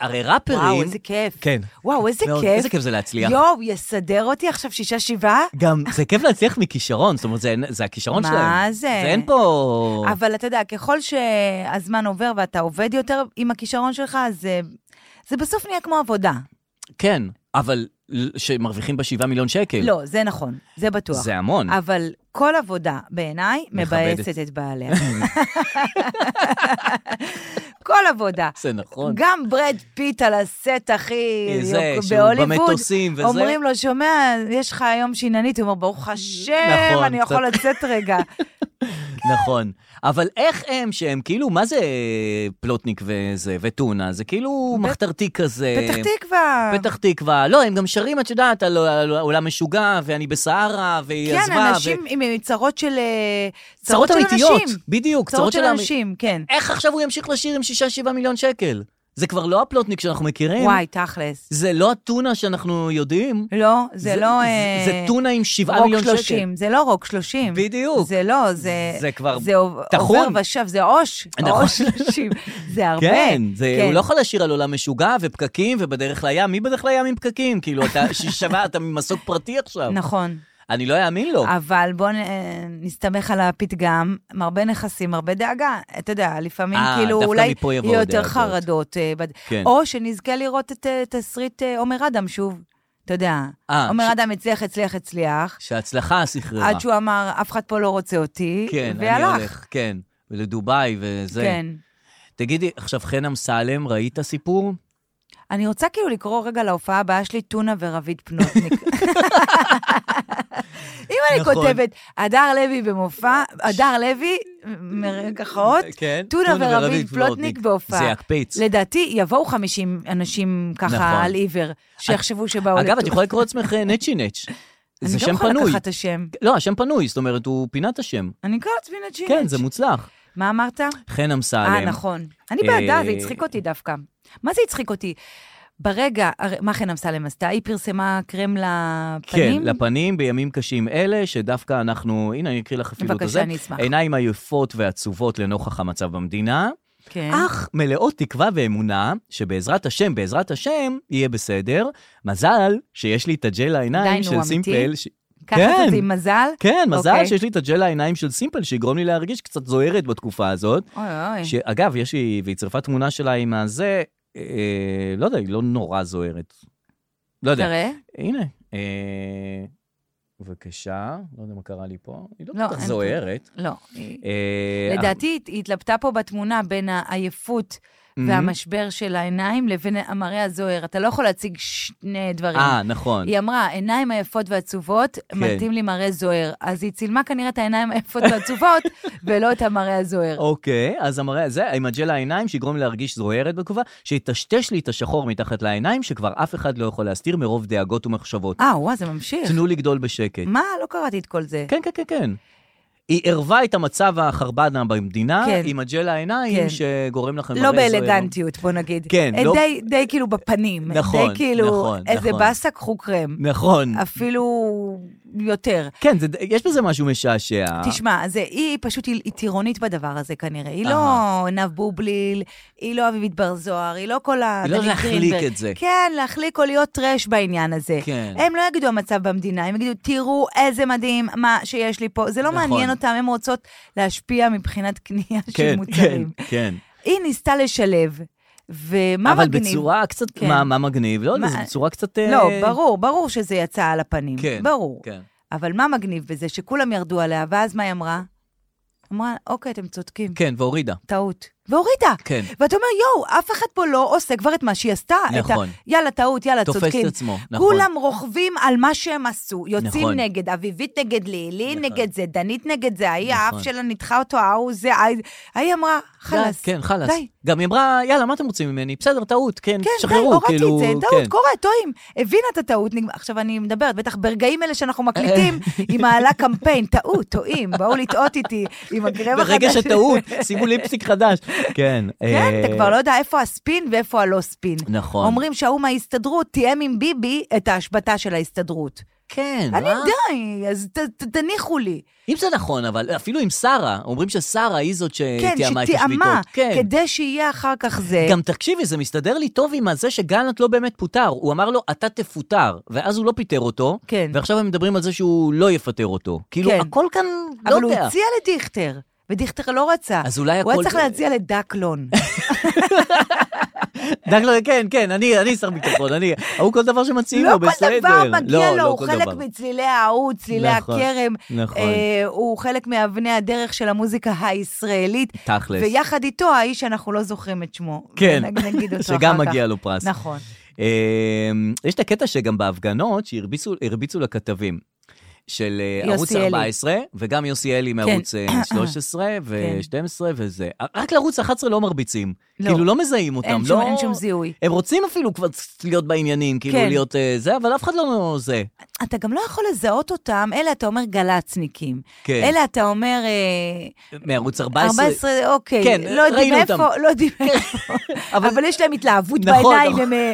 הרי ראפרים... וואו, איזה כיף. כן. וואו, איזה מאוד, כיף. איזה כיף זה להצליח. יואו, יסדר אותי עכשיו שישה שבעה? גם, זה כיף להצליח מכישרון, זאת אומרת, זה- זה הכישרון מה שלהם. זה? זה אין פה... אבל אתה יודע, ככל שהזמן עובר ואתה עובד יותר עם הכישרון שלך, אז אה, זה בסוף נהיה כמו עבודה. כן, אבל ל- שמרוויחים בה 7 מיליון שקל. לא, זה נכון, זה בטוח. כן. זה המון. אבל כל עבודה, בעיניי, מכבדת. מבאסת את בעליה. כל עבודה. זה נכון. אה, גם ברד פיט על הסט הכי זה, יוק- שהוא בהוליווד, במטוסים וזה. אומרים לו, שומע, יש לך היום שיננית, הוא אומר, ברוך השם, נכון, אני יכול לצאת רגע. נכון. אבל איך הם, שהם כאילו, מה זה פלוטניק וזה, וטונה? זה כאילו ב- מחתרתי כזה. פתח תקווה. פתח תקווה. לא, הם גם שרים, את יודעת, על על עולם משוגע, ואני בסהרה, והיא כן, עזבה. אנשים ו- עם עם צרות של... אה, צרות של אמיתיות. אנשים. בדיוק, צרות של אנ- אנשים, כן. איך עכשיו הוא ימשיך לשיר עם 6-7 מיליון שקל? זה כבר לא הפלוטניק שאנחנו מכירים. וואי, תכלס. זה לא הטונה שאנחנו יודעים. לא, זה לא... אה, זה, זה טונה עם שבעה רוק מיליון שקל. 30, זה לא רוק 30. בדיוק. זה לא, זה... זה כבר זה עוב- טחון. עובר ושב, זה עוש. נכון. עוש 30. זה הרבה. כן, זה, הוא לא יכול לשיר על עולם משוגע ופקקים ובדרך לים. מי בדרך לים עם פקקים? כאילו, אתה ששמע, אתה ממסוק פרטי עכשיו. נכון. אה, אני לא אאמין לו. אבל בואו נסתמך על הפתגם, הרבה נכסים, הרבה דאגה. אתה יודע, לפעמים אה, כאילו דווקא אולי מפה יבואו יהיו יותר דאגות. חרדות. אה, בד- כן. או שנזכה לראות את אה, תסריט אה, עומר אדם שוב. אתה יודע, אה, עומר ש- אדם הצליח, הצליח, הצליח, שההצלחה סחררה. עד שהוא אמר, אף אחד פה לא רוצה אותי, כן, אני והלך. הולך, כן. ולדובאי וזה. כן. תגידי, עכשיו חן אמסלם, ראית סיפור? אני רוצה כאילו לקרוא רגע להופעה הבאה שלי, טונה ורביד פנוטניק. אם אני נכון. כותבת, הדר לוי במופע, הדר לוי, מרכאות, כן. טונה ורביד פלוטניק בהופעה. זה יקפיץ. לדעתי, יבואו 50 אנשים נכון. ככה על עיוור, שיחשבו שבאו אגב, את לטונה. יכולה לקרוא לעצמך אה, נצ'י נץ'. זה אני שם גם יכולה פנוי. לקחת את השם. לא, השם פנוי, זאת אומרת, הוא פינה את השם. אני אקרא לעצמי נג'ינץ'. כן, זה מוצלח. מה אמרת? חן אמסלם. אה, נכון. אני אה, בעדה, זה הצחיק אותי דווקא. מה זה הצחיק אותי? ברגע, הרי- מה חן אמסלם עשתה? היא פרסמה קרם לפנים? כן, לפנים בימים קשים אלה, שדווקא אנחנו, הנה, אני אקריא לך אפילו את בבקשה, הזה. אני אשמח. עיניים עייפות ועצובות לנוכח המצב במדינה, כן. אך מלאות תקווה ואמונה שבעזרת השם, בעזרת השם, יהיה בסדר. מזל שיש לי את הג'ל עדיין העיניים הוא של אמיתי? סימפל. ש- ככה כן. זה עם מזל? כן, מזל אוקיי. שיש לי את הג'ל העיניים של סימפל, שיגרום לי להרגיש קצת זוהרת בתקופה הזאת. אוי אוי. שאגב, יש לי, והיא צירפה תמונה שלה עם הזה, אה, לא יודע, היא לא נורא זוהרת. לא יודע. תראה. הנה, אה, בבקשה, לא יודע מה קרה לי פה, היא לא לא, כל כך אין זוהרת. לא. היא- אה, לדעתי, היא- היא התלבטה פה בתמונה בין העייפות אה, והמשבר של העיניים לבין המראה הזוהר. אתה לא יכול להציג שני דברים. אה, כן. נכון. היא אמרה, עיניים עייפות ועצובות, מתאים לי מראה זוהר. אז היא צילמה כנראה את העיניים היפות והעצובות, ולא את המראה הזוהר. אוקיי, אז המראה הזה, עם הג'ל העיניים, שיגרום לי להרגיש זוהרת בתגובה, שיטשטש לי את השחור מתחת לעיניים, שכבר אף אחד לא יכול להסתיר מרוב דאגות ומחשבות. אה, וואו, זה ממשיך. תנו לגדול בשקט. מה? לא קראתי את כל זה. כן, כן, כן, כן. היא ערבה את המצב החרבנה במדינה, כן. עם הג'ל העיניים, כן. שגורם לכם... לא מראה זוהר. באלגנטיות, בוא נגיד. כן, אה, לא- די- די כאילו בפנים. נכון, די כאילו, נכון, איזה נכון. באסה, קחו קרם. נכון. אפילו יותר. כן, זה- יש בזה משהו משעשע. תשמע, זה, היא פשוט, היא היא טירונית בדבר הזה כנראה. היא אהה. לא עינב בובליל, היא לא אביבית בר זוהר, היא לא כל ה... היא לא דני להחליק גרינברג. את זה. כן, להחליק או להיות טרש בעניין הזה. כן. הם לא יגידו המצב במדינה, הם יגידו, תראו איזה מדהים מה שיש לי פה. זה לא נכון. מעניין אותם, הם רוצות להשפיע מבחינת קנייה של כן, מוצרים. כן, כן. היא ניסתה לשלב, ומה אבל מגניב? בצורה קצת, כן. מה, מה מגניב? לא יודע, מה- זה בצורה קצת... לא, אה, ברור, ברור שזה יצא על הפנים. כן, ברור. כן. אבל מה מגניב בזה? שכולם ירדו עליה, ואז מה היא אמרה? אמרה, אוקיי, אתם צודקים, כן, והורידה. טעות. והורידה. כן. ואתה אומר, יואו, אף אחד פה לא עושה כבר את מה שהיא עשתה. את ה- נכון. יאללה, טעות, יאללה, תופס את צודקים. עצמו, נכון. כולם רוכבים על מה שהם עשו, יוצאים נכון. נגד, אביבית נגד לילי, נכון. נגד זה, דנית נגד זה, ההיא, נכון. האף שלה נדחה אותו, ההוא זה, ההיא- ההיא אמרה, חלאס. כן, חלאס. די. גם היא אמרה, יאללה, מה אתם רוצים ממני? בסדר, טעות, כן, כן, שחררו, די, הורדתי כאילו, את זה, כן. טעות, קורה, טועים. הבינה את הטעות, נגמר. עכשיו אני מדברת, בטח ברגעים אלה שאנחנו מקליטים, היא מעלה קמפיין, טעות, טועים, באו לטעות איתי עם הגרם החדש. ברגע שטעות, שימו לי פסיק חדש. כן. כן, אתה כבר לא יודע איפה הספין ואיפה הלא ספין. נכון. אומרים שההוא מההסתדרות תיאם עם ביבי את ההשבתה של ההסתדרות. כן, אני אה? די, אז ת- ת- תניחו לי. אם זה נכון, אבל אפילו עם שרה, אומרים ששרה היא זאת כן, שתיאמה אה, את שתיאמה, השביתות. כן. כדי שיהיה אחר כך זה. גם תקשיבי, זה מסתדר לי טוב עם הזה שגלנט לא באמת פוטר. הוא אמר לו, אתה תפוטר, ואז הוא לא פיטר אותו, כן. ועכשיו הם מדברים על זה שהוא לא יפטר אותו. כאילו, כן. הכל כאן, לא אבל הוא יודע. הציע לדיכטר, ודיכטר לא רצה. אז אולי הוא היה הכל- צריך להציע לדקלון. דקלר, כן, כן, אני אני שר ביטחון, אני... ההוא כל דבר שמציעים לא לו, כל בסדר. דבר מגיע לא, לו, לא הוא כל חלק דבר. מצלילי ההוא, צלילי נכון, הכרם. נכון. אה, הוא חלק מאבני הדרך של המוזיקה הישראלית. תכלס. ויחד איתו האיש שאנחנו לא זוכרים את שמו. כן, נג- נגיד אותו אחר כך. שגם מגיע לו פרס. אמ, נכון. אה, יש את הקטע שגם בהפגנות, שהרביצו הרביצו לכתבים. של אה, יוסי ערוץ אלי. כן. 14, וגם יוסי אלי מערוץ אה, 13 ו-12 וזה. רק לערוץ 11 לא מרביצים. לא. כאילו, לא מזהים אותם. אין שום- לא- אין שום זיהוי. הם רוצים אפילו כבר להיות בעניינים, כאילו כן. להיות אה, זה, אבל אף אחד לא זה. אתה גם לא יכול לזהות אותם, אלה אתה אומר גל"צניקים. כן. אלה אתה אומר... אה, מערוץ 14. 14, אוקיי. כן, לא יודעים ראינו איפה, אותם. כן, לא יודעים איפה. אבל- אבל יש להם התלהבות נכון, בעיניים, נכון. הם, אה,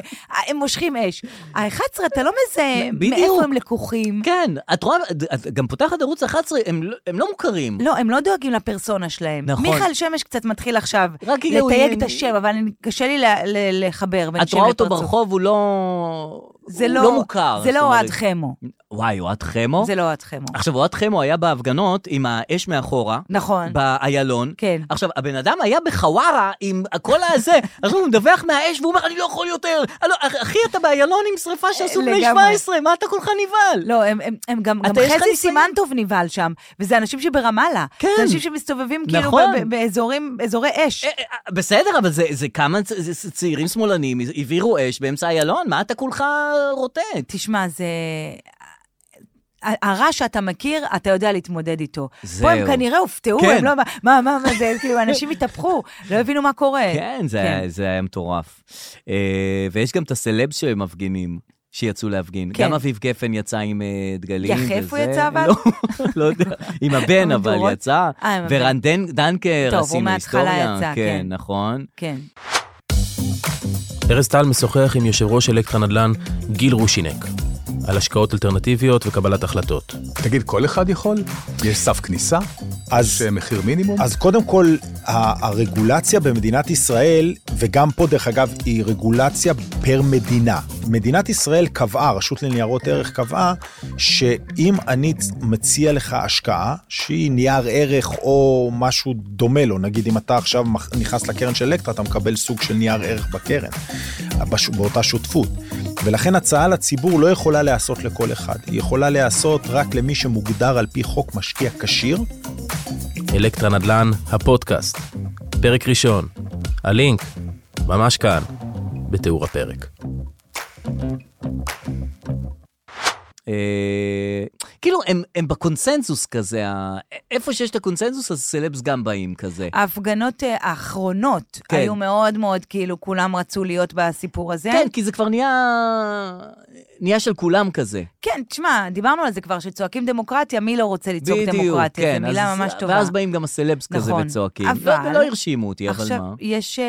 הם מושכים אש. ה-11, אתה לא מזהה בדיוק. מאיפה הם לקוחים. כן, את רואה, את- את גם פותחת ערוץ 11, הם לא- הם לא מוכרים. לא, הם לא דואגים לפרסונה שלהם. נכון. מיכאל שמש קצת מתחיל עכשיו רק כאילו, לתייג את אה, השם, אבל אני- קשה לי ל- ל- לחבר בין את שם רואה אותו לפרצוף. ברחוב, הוא לא... זה הוא לא מוכר. זה זאת לא אומרת. אה. אוהד חמו. וואי, אוהד חמו? זה לא אוהד חמו. עכשיו, אוהד חמו היה בהפגנות עם האש מאחורה, נכון. באיילון. כן. עכשיו, הבן אדם היה בחווארה עם כל הזה, אז הוא מדווח מהאש והוא אומר, אני לא יכול יותר. "הלו, אח- אחי, אתה באיילון עם שריפה שעשו בני לגמרי. 17, מה אתה כולך נבהל? לא, הם, הם, הם גם, גם אתה, יש לך חזי ניסיון? סימנטוב נבהל שם, וזה אנשים שברמאללה. כן. זה אנשים שמסתובבים כאילו נכון. ב- ב- באזורים, אזורי אש. אה, אה, בסדר, אבל זה, זה כמה צ- זה- זה צעירים שמאלנים הבעירו אש באמצע איילון, מה אתה כולך רוטט? תשמע, זה... ה- הרע שאתה מכיר, אתה יודע להתמודד איתו. זהו. פה הם כנראה הופתעו, כן. הם לא... מה, מה, מה, זה, כאילו, אנשים התהפכו, לא הבינו מה קורה. כן, זה, כן. היה- זה היה מטורף. אה, ויש גם את הסלבס שמפגינים. שיצאו להפגין. כן. גם אביב גפן יצא עם אה, דגלים. יחף הוא וזה. יצא אבל? לא, לא יודע. עם הבן אבל מדורות. יצא. אה, עם הבן. ורן דן- דנקר טוב, הוא עשינו מההתחלה היסטוריה. יצא, כן. נכון. כן. ארז טל משוחח עם יושב ראש אלקטרה נדל"ן גיל רושינק על השקעות אלטרנטיביות וקבלת החלטות. תגיד, כל אחד יכול? יש סף כניסה? יש אז, אה, מחיר מינימום? אז קודם כל, ה- הרגולציה במדינת ישראל, וגם פה דרך אגב, היא רגולציה פר מדינה. מדינת ישראל קבעה, הרשות לניירות ערך קבעה, שאם אני צ- מציע לך השקעה, שהיא נייר ערך או משהו דומה לו, נגיד אם אתה עכשיו מח- נכנס לקרן של אלקטרה, אתה מקבל סוג של נייר ערך בקרן, בש- באותה שותפות. ולכן הצעה לציבור לא יכולה להיעשות לכל אחד, היא יכולה להיעשות רק למי שמוגדר על פי חוק משקיע כשיר, אלקטרה נדל"ן, הפודקאסט. פרק ראשון. הלינק, ממש כאן, בתיאור הפרק. אה, כאילו, הם, הם בקונסנזוס כזה, ה- איפה שיש את הקונסנזוס, אז סלבס גם באים כזה. ההפגנות אה, האחרונות כן. היו מאוד מאוד, כאילו, כולם רצו להיות בסיפור הזה. כן, כי זה כבר נהיה... נהיה של כולם כזה. כן, תשמע, דיברנו על זה כבר, שצועקים דמוקרטיה, מי לא רוצה לצעוק בדיוק, דמוקרטיה? כן. זו מילה אז- ממש טובה. ואז באים גם הסלבס כזה נכון. וצועקים. אבל- לא, לא הרשימו אותי, אבל עכשיו, מה? יש... אה,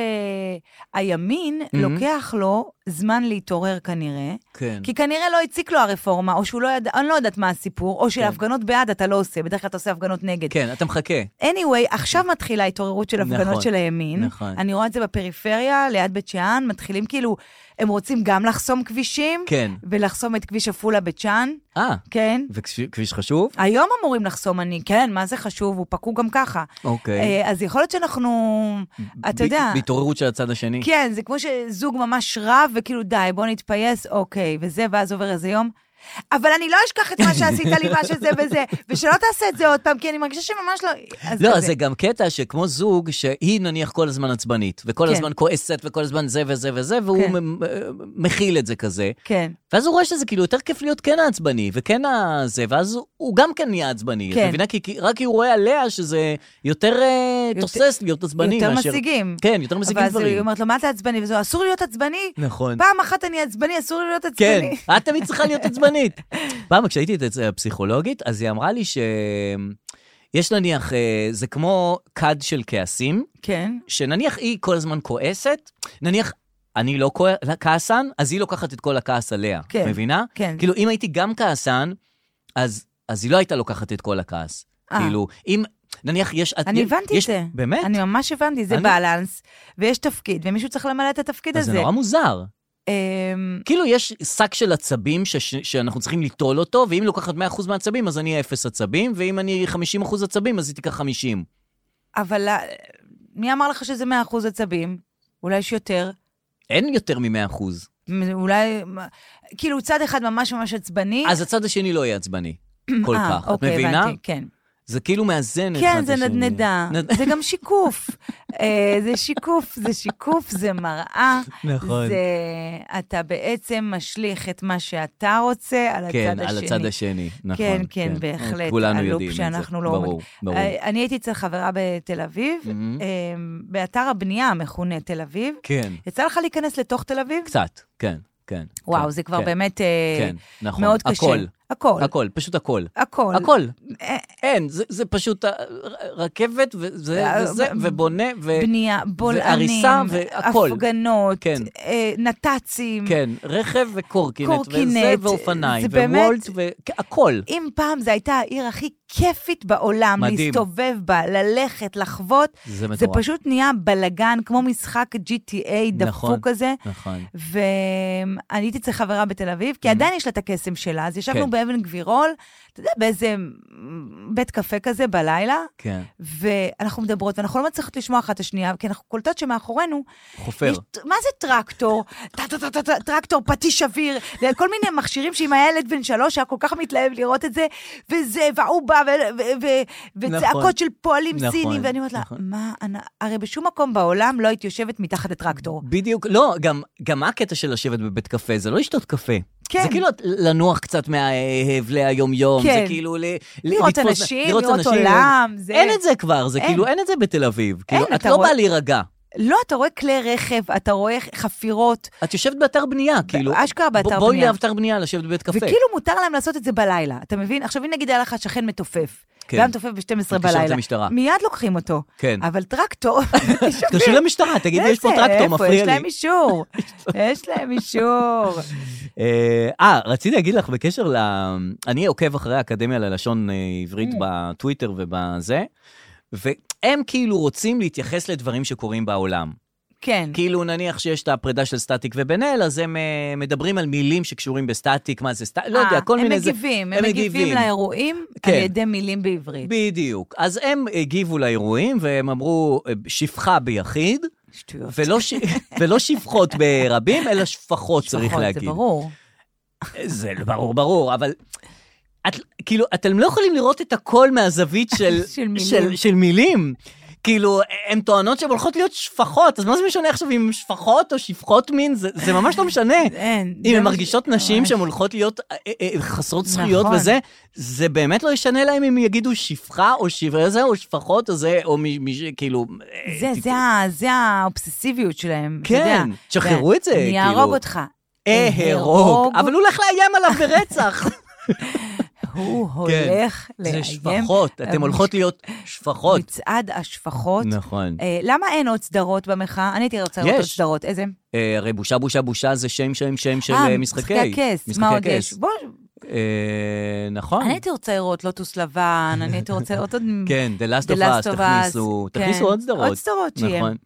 הימין Mhm. לוקח לו זמן להתעורר כנראה, כן. כי כנראה לא הציק לו הרפורמה, או שהוא לא ידע, אני לא יודעת מה הסיפור, או שלהפגנות בעד אתה לא עושה, בדרך כלל אתה עושה הפגנות נגד. כן, אתה מחכה. anyway, עכשיו מתחילה ההתעוררות של הפגנות נכון, של הימין. נכון. אני רואה את זה בפריפריה, ליד בית שאן, מתחילים כאילו, הם רוצים גם לחסום כבישים, כן. ולחסום את כביש עפולה בית שאן, אה, כן? וכביש חשוב? היום אמורים לחסום אני, כן, מה זה חשוב, הוא פקוק גם ככה. אוקיי. אה, אז יכול להיות שאנחנו, אתה ב- יודע... בהתעוררות של הצד השני. כן, זה כמו שזוג ממש רב, וכאילו, די, בוא נתפייס, אוקיי, וזה, ואז עובר איזה יום. אבל אני לא אשכח את מה שעשית לי, מה שזה וזה, ושלא תעשה את זה עוד פעם, כי אני מרגישה שממש לא... אז לא, כזה. אז זה גם קטע שכמו זוג, שהיא נניח כל הזמן עצבנית, וכל כן. הזמן כועסת, וכל הזמן זה וזה וזה, והוא כן. מ- מ- מכיל את זה כזה. כן, ואז הוא רואה שזה כאילו יותר כיף להיות כן העצבני, וכן הזה, ואז הוא- הוא גם כן נהיה עצבני. כן. את מבינה? כי כי- רק כי הוא רואה עליה שזה יותר אה, יותר- תוסס להיות עצבני יותר מאשר... משיגים. כן, יותר משיגים ואז היא דברים. אומרת לו, מה אתה עצבני? וזה, אסור להיות עצבני? נכון. פעם אחת אני עצבני, אסור לי להיות כן, עצבני. את תמיד צריכה להיות עצבנית. פעם כשהייתי אצל הפסיכולוגית, אז היא אמרה לי ש... יש נניח, אה, זה כמו כד של כעסים, כן. שנניח היא כל הזמן כועסת, נניח אני לא כוע- כעסן, אז היא לוקחת את כל הכעס עליה, כן. מבינה? כן. כאילו, אם הייתי גם כעסן, אז, אז היא לא הייתה לוקחת את כל הכעס. אה. כאילו, אם, נניח יש... את- אני הבנתי יש- את זה. באמת? אני ממש הבנתי, זה אני- בלנס, ויש תפקיד, ומישהו צריך למלא את התפקיד אז הזה. זה נורא מוזר. אמ, כאילו, יש שק של עצבים ש- ש- שאנחנו צריכים ליטול אותו, ואם היא לוקחת 100% מהעצבים, אז אני אהיה 0 עצבים, ואם אני אהיה 50% עצבים, אז היא תיקח 50. אבל אה, מי אמר לך שזה 100% עצבים? אולי יש יותר. אין יותר מ-100%. מ- אולי, מה- כאילו, צד אחד ממש ממש עצבני. אז הצד השני לא יהיה עצבני כל אה, כך, את אוקיי, מבינה? הבנתי, כן. זה כאילו מאזן אחד כן, את זה השני. נדנדה, נד- זה גם שיקוף. אה, זה שיקוף, זה שיקוף, זה מראה. נכון. זה... אתה בעצם משליך את מה שאתה רוצה על כן, הצד על השני. הצד השני, נכון. כן, כן, בהחלט, כולנו הלופ יודעים את זה, שאנחנו לא ברור, אומרים. ברור. אה, אני הייתי אצל חברה בתל אביב, מהמם. אה, באתר הבנייה המכונה תל אביב. כן, יצא לך להיכנס לתוך תל אביב? קצת, כן, כן. וואו, כן, זה כבר כן, באמת אה, כן, נכון. מאוד קשה. הכל, הכל. הכל, פשוט הכל. הכל. הכל. אה, אין, זה, זה פשוט אה, ר- רכבת, וזה, אה, וזה, ב- ובונה, ו... בנייה, בולענים, והריסה והכל. הפגנות, כן. אה, נת"צים. כן, רכב וקורקינט, וזה, קורקינט, ואופניים, זה באמת- ווולט, והכל. אם פעם זו הייתה העיר הכי כיפית בעולם, מדהים. להסתובב בה, ללכת, לחוות, זה זה מטורף. פשוט נהיה בלגן, כמו משחק GTA דפוק נכון. כזה. נכון. ואני הייתי אצל חברה בתל אביב, כי עדיין יש לה את הקסם שלה, אז ישבנו Mhm. כן. באבן גבירול, אתה יודע, באיזה מ, בית קפה כזה בלילה, כן, ואנחנו מדברות, ואנחנו לא מצליחות לשמוע אחת את השנייה, כי אנחנו קולטות שמאחורינו, חופר. יש, מה זה טרקטור? טה-טה-טה-טה, טרקטור, פטיש אוויר, כל מיני מכשירים שאם היה ילד בן שלוש היה כל כך מתלהב לראות את זה, וזה, וההוא בא, ו- ו- ו- נכון. וצעקות של פועלים נכון, סינים, ואני אומרת לה, נכון. מה, אנ- הרי בשום מקום בעולם לא הייתי יושבת מתחת לטרקטור. בדיוק, לא, גם, גם מה הקטע של לשבת בבית קפה? זה לא לשתות קפה. כן. זה כאילו לנוח קצת מההבלי היום-יום, זה כן. כאילו ל... לראות לתפוס- אנשים, לראות עולם, זה... אין את זה כבר, זה אין. כאילו, אין את זה בתל אביב. כאילו, את אתה לא רואה- באה להירגע. לא, אתה רואה כלי רכב, אתה רואה חפירות, את יושבת באתר בנייה, כאילו. אשכרה באתר בוא- בואי בנייה. לאתר בנייה, לשבת בבית קפה. וכאילו מותר להם לעשות את זה בלילה, אתה מבין? עכשיו, אם נגיד היה לך שכן מתופף, כן. והיה מתופף ב-12 מתקשרת בלילה, למשטרה. מיד לוקחים אותו. כן. אבל טרקטור... תתקשרי למשטרה, תגידי, יש פה איזה, טרקטור, איפה? מפריע יש להם לי. אישור, יש להם אישור. אה, אה, רציתי להגיד לך בקשר ל... אני עוקב אחרי האקדמיה ללשון אה, עברית Mm. בטוויטר ובזה, והם כאילו רוצים להתייחס לדברים שקורים בעולם. כן. כאילו נניח שיש את הפרידה של סטטיק ובן אל, אז הם אה, מדברים על מילים שקשורים בסטטיק, מה זה סטטיק, לא יודע, אה, כל מיני... הם זה- מגיבים, הם מגיבים לאירועים כן. על ידי מילים בעברית. בדיוק. אז הם הגיבו לאירועים, והם אמרו, אה, שפחה ביחיד, שטויות. ולא, ש... ולא שפחות ברבים, אלא שפחות לא צריך נכון, להגיד. זה ברור. זה ברור, ברור, אבל... את, כאילו, אתם לא יכולים לראות את הכל מהזווית של, של מילים. של, של מילים. כאילו, הן טוענות שהן הולכות להיות שפחות, אז מה זה משנה עכשיו אם הן שפחות או שפחות מין? זה, זה ממש לא משנה. אין. זה לא אם הן מה ש- מרגישות נשים ממש. שהן הולכות להיות אה, אה, אה, חסרות זכויות נכון. וזה, זה באמת לא ישנה להם אם יגידו שפחה או שפחה זה, או שפחות או זה, או מי מי ש... כאילו... אה, זה, טיפ- זה, ה- זה האובססיביות שלהם, אתה יודע. כן, שחררו את זה, אני אהרוג כאילו. אותך. אהרוג. אהרוג. אבל הוא הולך לאיים עליו ברצח. הוא הולך כן, זה לאיים. שפחות, אתן אה, הולכות להיות שפחות. מצעד השפחות. נכון. אה, למה אין עוד סדרות במחאה? אני הייתי רוצה לראות עוד יש. סדרות. איזה? אה, הרי בושה, בושה, בושה זה שם, שם, שם של אה, אה, משחקי. הכס. מה עוד משחקי יש? בוא, אה, נכון. אני הייתי רוצה לראות לוטוס לבן, אני הייתי רוצה לראות עוד... כן, The Last The of Last Us, of תכניסו, Us, תכניסו כן. עוד סדרות. עוד סדרות שיהיה. נכון.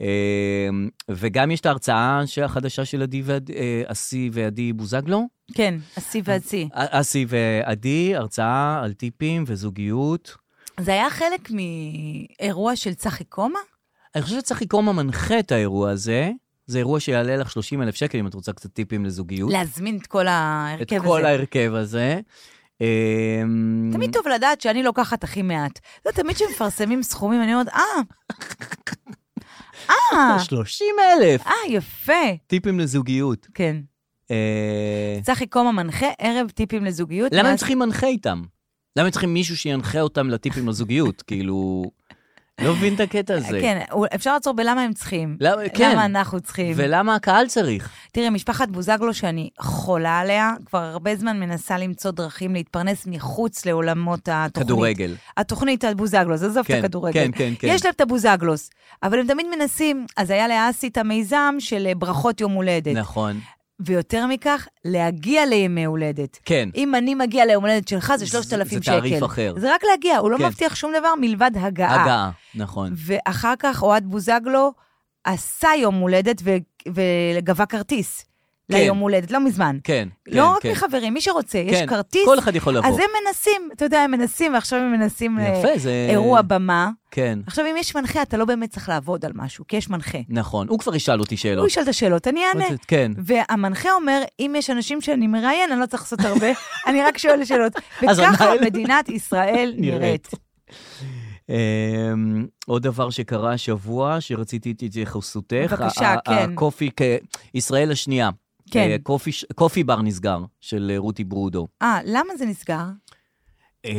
אה, וגם יש את ההרצאה החדשה של עדי ועדי, אה, אסי ועדי בוזגלו. כן, השיא והשיא. א- אסי ועדי, הרצאה על טיפים וזוגיות. זה היה חלק מאירוע של צחי קומה? אוקיי. אני חושב שצחי קומה מנחה את האירוע הזה. זה אירוע שיעלה לך 30 אלף שקל אם את רוצה קצת טיפים לזוגיות. להזמין את כל את ההרכב כל הזה. ההרכב הזה. אמ, תמיד טוב לדעת שאני לוקחת הכי מעט. זה תמיד כשמפרסמים סכומים, אני אומרת, אה, אה, 30 אלף אה, יפה. טיפים לזוגיות. כן. אה, צחי קומה מנחה ערב טיפים לזוגיות. למה הם ואז- צריכים מנחה איתם? למה הם צריכים מישהו שינחה אותם לטיפים לזוגיות? כאילו, לא מבין את הקטע הזה. כן, אפשר לעצור בלמה הם צריכים. למה- כן. למה אנחנו צריכים. ולמה הקהל צריך? תראי, משפחת בוזגלו, שאני חולה עליה, כבר הרבה זמן מנסה למצוא דרכים להתפרנס מחוץ לעולמות התוכנית. כדורגל. התוכנית הבוזגלוס, עזוב כן, את הכדורגל. כן, כן, כן. יש להם את הבוזגלוס, אבל הם תמיד מנסים, אז היה לאסי את המיזם של אה, ברכות יום הולדת. נכון. ויותר מכך, להגיע לימי הולדת. כן. אם אני מגיע ליום הולדת שלך, זה זה- 3,000 זה שקל. תעריף אחר. זה רק להגיע, הוא לא כן. מבטיח שום דבר מלבד הגעה. הגעה, נכון. ואחר כך אוהד בוזגלו עשה יום הולדת ו... וגבה כרטיס כן. ליום הולדת, לא מזמן. כן, כן, לא רק כן. מחברים, מי שרוצה, כן, יש כרטיס, כל אחד יכול לבוא. אז אה, הם מנסים, אתה יודע, הם מנסים, ועכשיו הם מנסים יפה, זה... לאירוע במה. כן, עכשיו, אם יש מנחה, אתה לא באמת צריך לעבוד על משהו, כי יש מנחה. נכון. הוא כבר ישאל אותי שאלות. הוא ישאל את השאלות, אני אענה. מה זה- כן. והמנחה אומר, אם יש אנשים שאני מראיין, אני לא צריך לעשות הרבה, אני רק שואל שאלות. אז וככה עונה לו. מדינת ישראל נראית. נראית. אמ, עוד דבר שקרה השבוע, שרציתי את התייחסותך. בבקשה, ה- ה- כן. הקופי, כ- ישראל השנייה. כן. אה, קופי ש- קופי בר נסגר, של אה, רותי ברודו. אה, למה זה נסגר? אה,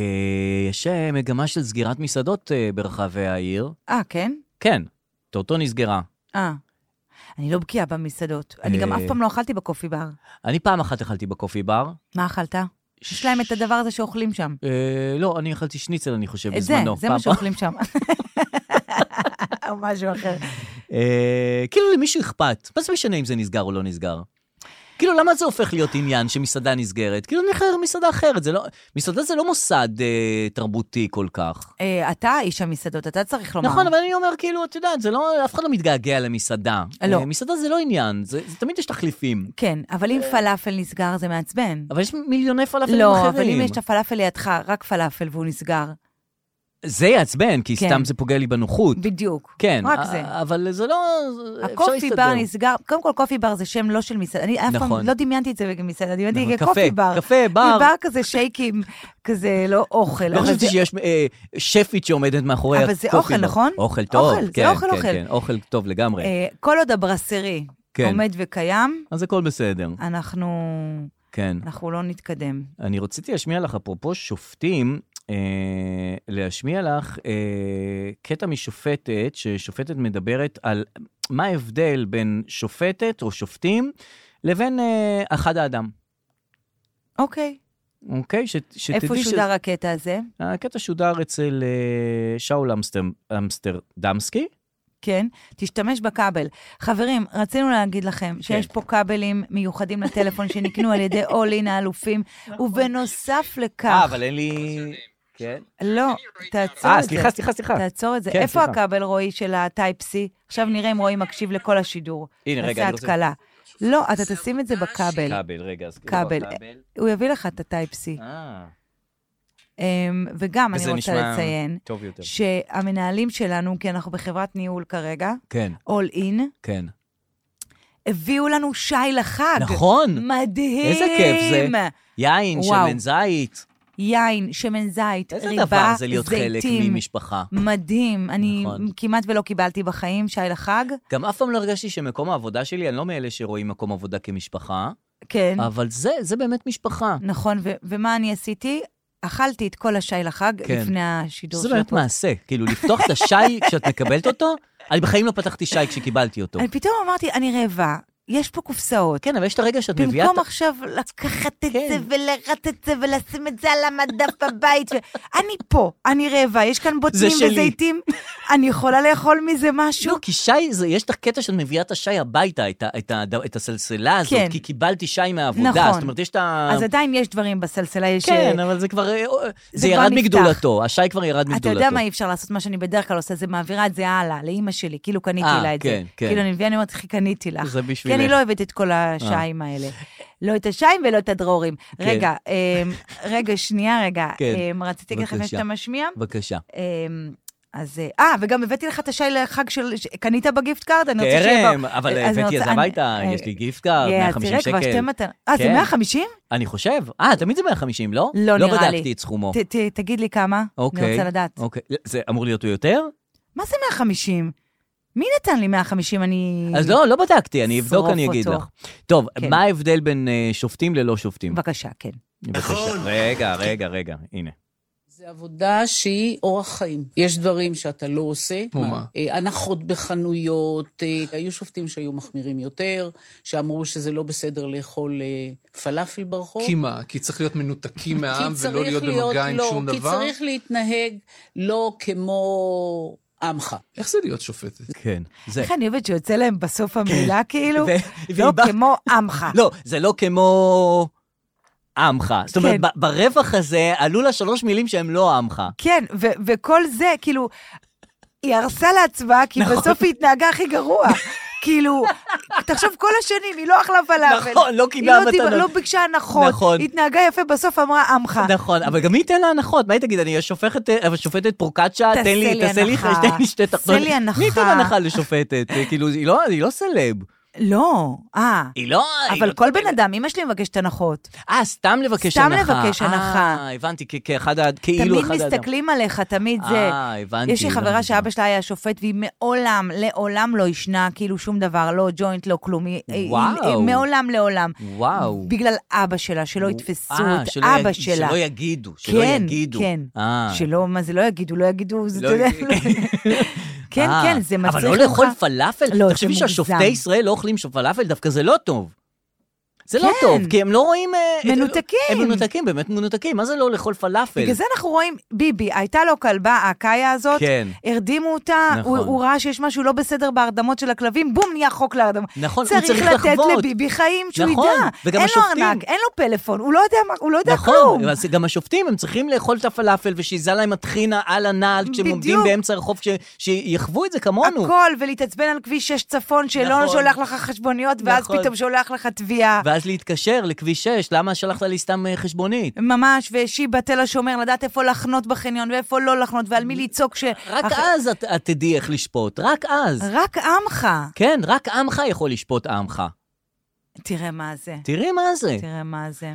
יש אה, מגמה של סגירת מסעדות אה, ברחבי העיר. אה, כן? כן, טוטו נסגרה. אה. אני לא בקיאה במסעדות. אני גם אה. אף פעם לא אכלתי בקופי בר. אני פעם אחת אכלתי בקופי בר. מה אכלת? יש להם את הדבר הזה שאוכלים שם. אה, לא, אני אכלתי שניצל, אני חושב, את אה, זה, בזמנו. זה פעם- מה שאוכלים שם. או משהו אחר. אה, כאילו למישהו אכפת. מה זה משנה אם זה נסגר או לא נסגר? כאילו, למה זה הופך להיות עניין שמסעדה נסגרת? כאילו, נחר מסעדה אחרת. זה לא, מסעדה זה לא מוסד אה, תרבותי כל כך. אה, אתה איש המסעדות, אתה צריך לומר. נכון, אבל אני אומר, כאילו, את יודעת, זה לא, אף אחד לא מתגעגע למסעדה. לא. אה, מסעדה זה לא עניין, זה, זה תמיד יש תחליפים. כן, אבל אם פלאפל נסגר זה מעצבן. אבל יש מיליוני פלאפלים אחרים. לא, אבל אם יש את הפלאפל לידך, רק פלאפל והוא נסגר. זה יעצבן, כי כן. סתם זה פוגע לי בנוחות. בדיוק. כן. רק א- זה. אבל זה לא... אפשר הקופי להסתדר. בר נסגר, קודם כל קופי בר זה שם לא של מסעדה, אני אף נכון. פעם לא דמיינתי את זה במסעדה, דמיינתי נכון, כקופי קפה, בר. קפה, בר. בר כזה שייקים, כזה לא אוכל. לא אבל חשבתי זה- שיש אה, שפית שעומדת מאחורי אבל זה הקופי אוכל, בר. נכון? אוכל טוב, אוכל, זה כן, אוכל, כן, אוכל. כן, אוכל טוב לגמרי. אה, כל עוד הברסרי כן. עומד וקיים, אז הכל בסדר, אנחנו כן. אנחנו לא נתקדם. אני רציתי להשמיע לך, אפרופו שופטים, אה, להשמיע לך אה, קטע משופטת, ששופטת מדברת על מה ההבדל בין שופטת או שופטים לבין אה, אחד האדם, אוקיי, אוקיי? ש, שתדעי איפה שזה- שודר הקטע הזה? הקטע שודר אצל אה, שאול אמסטר- אמסטרדמסקי. כן, תשתמש בכבל. חברים, רצינו להגיד כן. לכם שיש פה כבלים מיוחדים לטלפון שנקנו על ידי אולין האלופים, ובנוסף אה, לכך, אבל אין לי... כן. לא, תעצור אה, את זה. סליחה, סליחה, סליחה. תעצור את זה. כן, איפה סליחה. הכבל, רועי, של הטייפ-C? עכשיו נראה אם רועי מקשיב לכל השידור. הנה, רגע, נעשה אני רוצה- התקלה. לא, אתה תשים את זה בכבל. כבל, רגע. אז כאילו כבל. בכבל. הוא יביא לך את הטייפ-C. אה, אמ, וגם אני וזה רוצה נשמע לציין, טוב יותר. שהמנהלים שלנו, כי אנחנו בחברת ניהול כרגע, כן, All In, כן. הביאו לנו שי לחג. נכון. מדהים. איזה כיף זה. יין, וואו. שמן זית. יין, שמן זית, איזה ריבה, דבר זה להיות חלק זיתים. ממשפחה. מדהים. אני נכון. כמעט ולא קיבלתי בחיים שי לחג. גם אף פעם לא הרגשתי שמקום העבודה שלי, אני לא מאלה שרואים מקום עבודה כמשפחה, כן. אבל זה, זה באמת משפחה. נכון, ו- ומה אני עשיתי? אכלתי את כל השי לחג כן. לפני השידור זה של באמת הפודקאסט. מעשה. כאילו, לפתוח את השי כשאת מקבלת אותו, אני בחיים לא פתחתי שי כשקיבלתי אותו. אני פתאום אמרתי, אני רעבה, יש פה קופסאות. כן, אבל יש את הרגע שאת מביאה... את במקום עכשיו לקחת את כן. זה ולרדת את זה ולשים את זה על המדף בבית. ו- אני פה, אני רעבה, יש כאן בוטנים שלי. וזיתים, אני יכולה לאכול מזה משהו? לא, כי שי, זה, יש את הקטע שאת מביאה את השי הביתה, את, ה- את, ה- את הסלסלה הזאת, כן. כי קיבלתי שי מהעבודה. נכון. זאת אומרת, יש את ה... אז עדיין יש דברים בסלסלה, יש... לא. כן, אה, אבל זה כבר... אה, זה, זה כבר ירד נפתח. מגדולתו, השי כבר ירד מגדולתו. אתה יודע מה אי אפשר לעשות, מה שאני בדרך כלל עושה, זה מעבירה את זה הלאה, לאימא שלי, כאילו קניתי אה, לה את זה. כן, כן. כאילו אני מביאה, אני אומרת, אחי, קניתי לך. זה כי בשבילך. אה. אני לא אוהבת את כל השיים האלה. לא את השיים ולא את הדרורים. רגע, אמ, רגע, שנייה, רגע. כן, אמ, רציתי להגיד לך לפני בבקשה. שאתה משמיע. בבקשה. אמ, אז, אה, אה, וגם הבאתי לך את השי לחג של... ש- קנית בגיפט קארד? אני רוצה שיהיה... כרם, ב- כן, אבל אז אני הבאתי את רוצה- זה אני- הביתה, אה, יש לי גיפט קארד, אה, 150 תראה, כבר שתי שקל. מתנות. אה, זה כן. 150? אני חושב. אה, תמיד זה 150, לא? לא, נראה לי. לא בדקתי את סכומו. ת- ת- תגיד לי כמה. אוקיי. אני רוצה לדעת. אוקיי. זה אמור להיות הוא יותר? מה זה 150? מי נתן לי 150? אני... אז לא, לא בדקתי, אני אבדוק, שרוף אני אגיד אותו. לך. טוב, כן. מה ההבדל בין אה, שופטים ללא שופטים? בבקשה, כן. בבקשה. רגע, רגע, רגע, הנה. זה עבודה שהיא אורח חיים. יש דברים שאתה לא עושה. כמו מה? אה, הנחות בחנויות, אה, היו שופטים שהיו מחמירים יותר, שאמרו שזה לא בסדר לאכול אה, פלאפל ברחוב. כי מה? כי צריך להיות מנותקים כי מהעם צריך ולא להיות במגע עם לא, שום כי דבר? צריך להתנהג לא כמו עמך. איך זה להיות שופטת? כן. זה. כן. איך אני אוהבת שיוצא להם בסוף המילה, כאילו? ו- והיא לא באה- כמו עמך. לא, זה לא כמו עמך. זאת אומרת, כן. ב- ברווח הזה עלו לה שלוש מילים שהן לא עמך. כן, ו- וכל זה, כאילו, היא הרסה לעצמה, כי נכון. בסוף היא התנהגה הכי גרוע. כאילו, תחשוב, כל השנים היא לא אכלה פלאפל. נכון, לא קיבלה היא לא, דיב- מתנות. לא ביקשה הנחות. נכון. היא התנהגה יפה, בסוף אמרה עמך. נכון, אבל גם מי ייתן לה הנחות? מה היא תגיד, אני שופכת, אבל שופטת פרוקצ'ה, תעשה תן לי, לי תעשה לי, הנחה. תן לי שתי תעשה תחתונים. לי הנחה. מי ייתן הנחה לשופטת? כאילו, היא לא- היא לא סלב. לא, אה. היא לא... היא אבל לא כל תקבל. בן אדם, אמא שלי מבקשת הנחות. אה, סתם לבקש סתם הנחה. לבקש הנחה. אה, הבנתי, כ- כאחד ה... כאילו תמיד אחד האדם. מסתכלים עליך, תמיד זה. אה, הבנתי. יש לי חברה הבנתי. שאבא שלה היה שופט, והיא מעולם, לעולם לא עישנה כאילו שום דבר, לא ג'וינט, לא כלום. היא- היא- וואו. היא- מעולם, לעולם. וואו. בגלל אבא שלה, שלא לא יתפסו אה, את שלא אבא יג- שלה. שלא יגידו, שלא כן, יגידו. כן. אה. שלא, מה זה לא יגידו, לא יגידו, זה, לא אתה יודע, יגידו. לא- כן, אה, כן, זה מצריך ממך. אבל לא לאכול פלאפל? לא, זה תחשבי מוגזם. שהשופטי ישראל לא אוכלים שום פלאפל, דווקא זה לא טוב. זה לא כן. טוב, כי הם לא רואים... אה, את- מנותקים. הם מנותקים, באמת מנותקים. מה זה לא לאכול פלאפל? בגלל זה לא- אנחנו רואים, ביבי, הייתה לו כלבה, הקאיה הזאת, כן. הרדימו אותה, נכון. הוא, הוא ראה שיש משהו לא בסדר בהרדמות של הכלבים, בום, נהיה חוק להרדמה. נכון, הוא צריך צריך לתת לחוות. לביבי חיים, שהוא נכון, ידע. וגם אין השופטים. לו ארנק, אין לו פלאפון, הוא לא יודע, מה- הוא לא יודע כלום. נכון, אז גם השופטים, הם צריכים לאכול את הפלאפל ושיזה להם הטחינה על הנעל כשהם עומדים בדיוק. באמצע הרחוב, ש- שיחוו את זה כמונו. הכל, ולהתעצבן על כביש 6 צפון, שלא נכון. שולח לך חשבוניות, ואז נכון. פתאום שולח לך תביעה. ואז להתקשר לכביש 6, למה שלחת לי סתם אה, חשבונית? ממש, ושיבא תל השומר, לדעת איפה לחנות בחניון, ואיפה לא לחנות, ועל מי לצעוק ש... רק אח- אה. אז את את תדעי איך לשפוט, רק אז. רק עמך. כן, רק עמך יכול לשפוט עמך. תראה מה זה. תראי מה זה. תראה מה זה.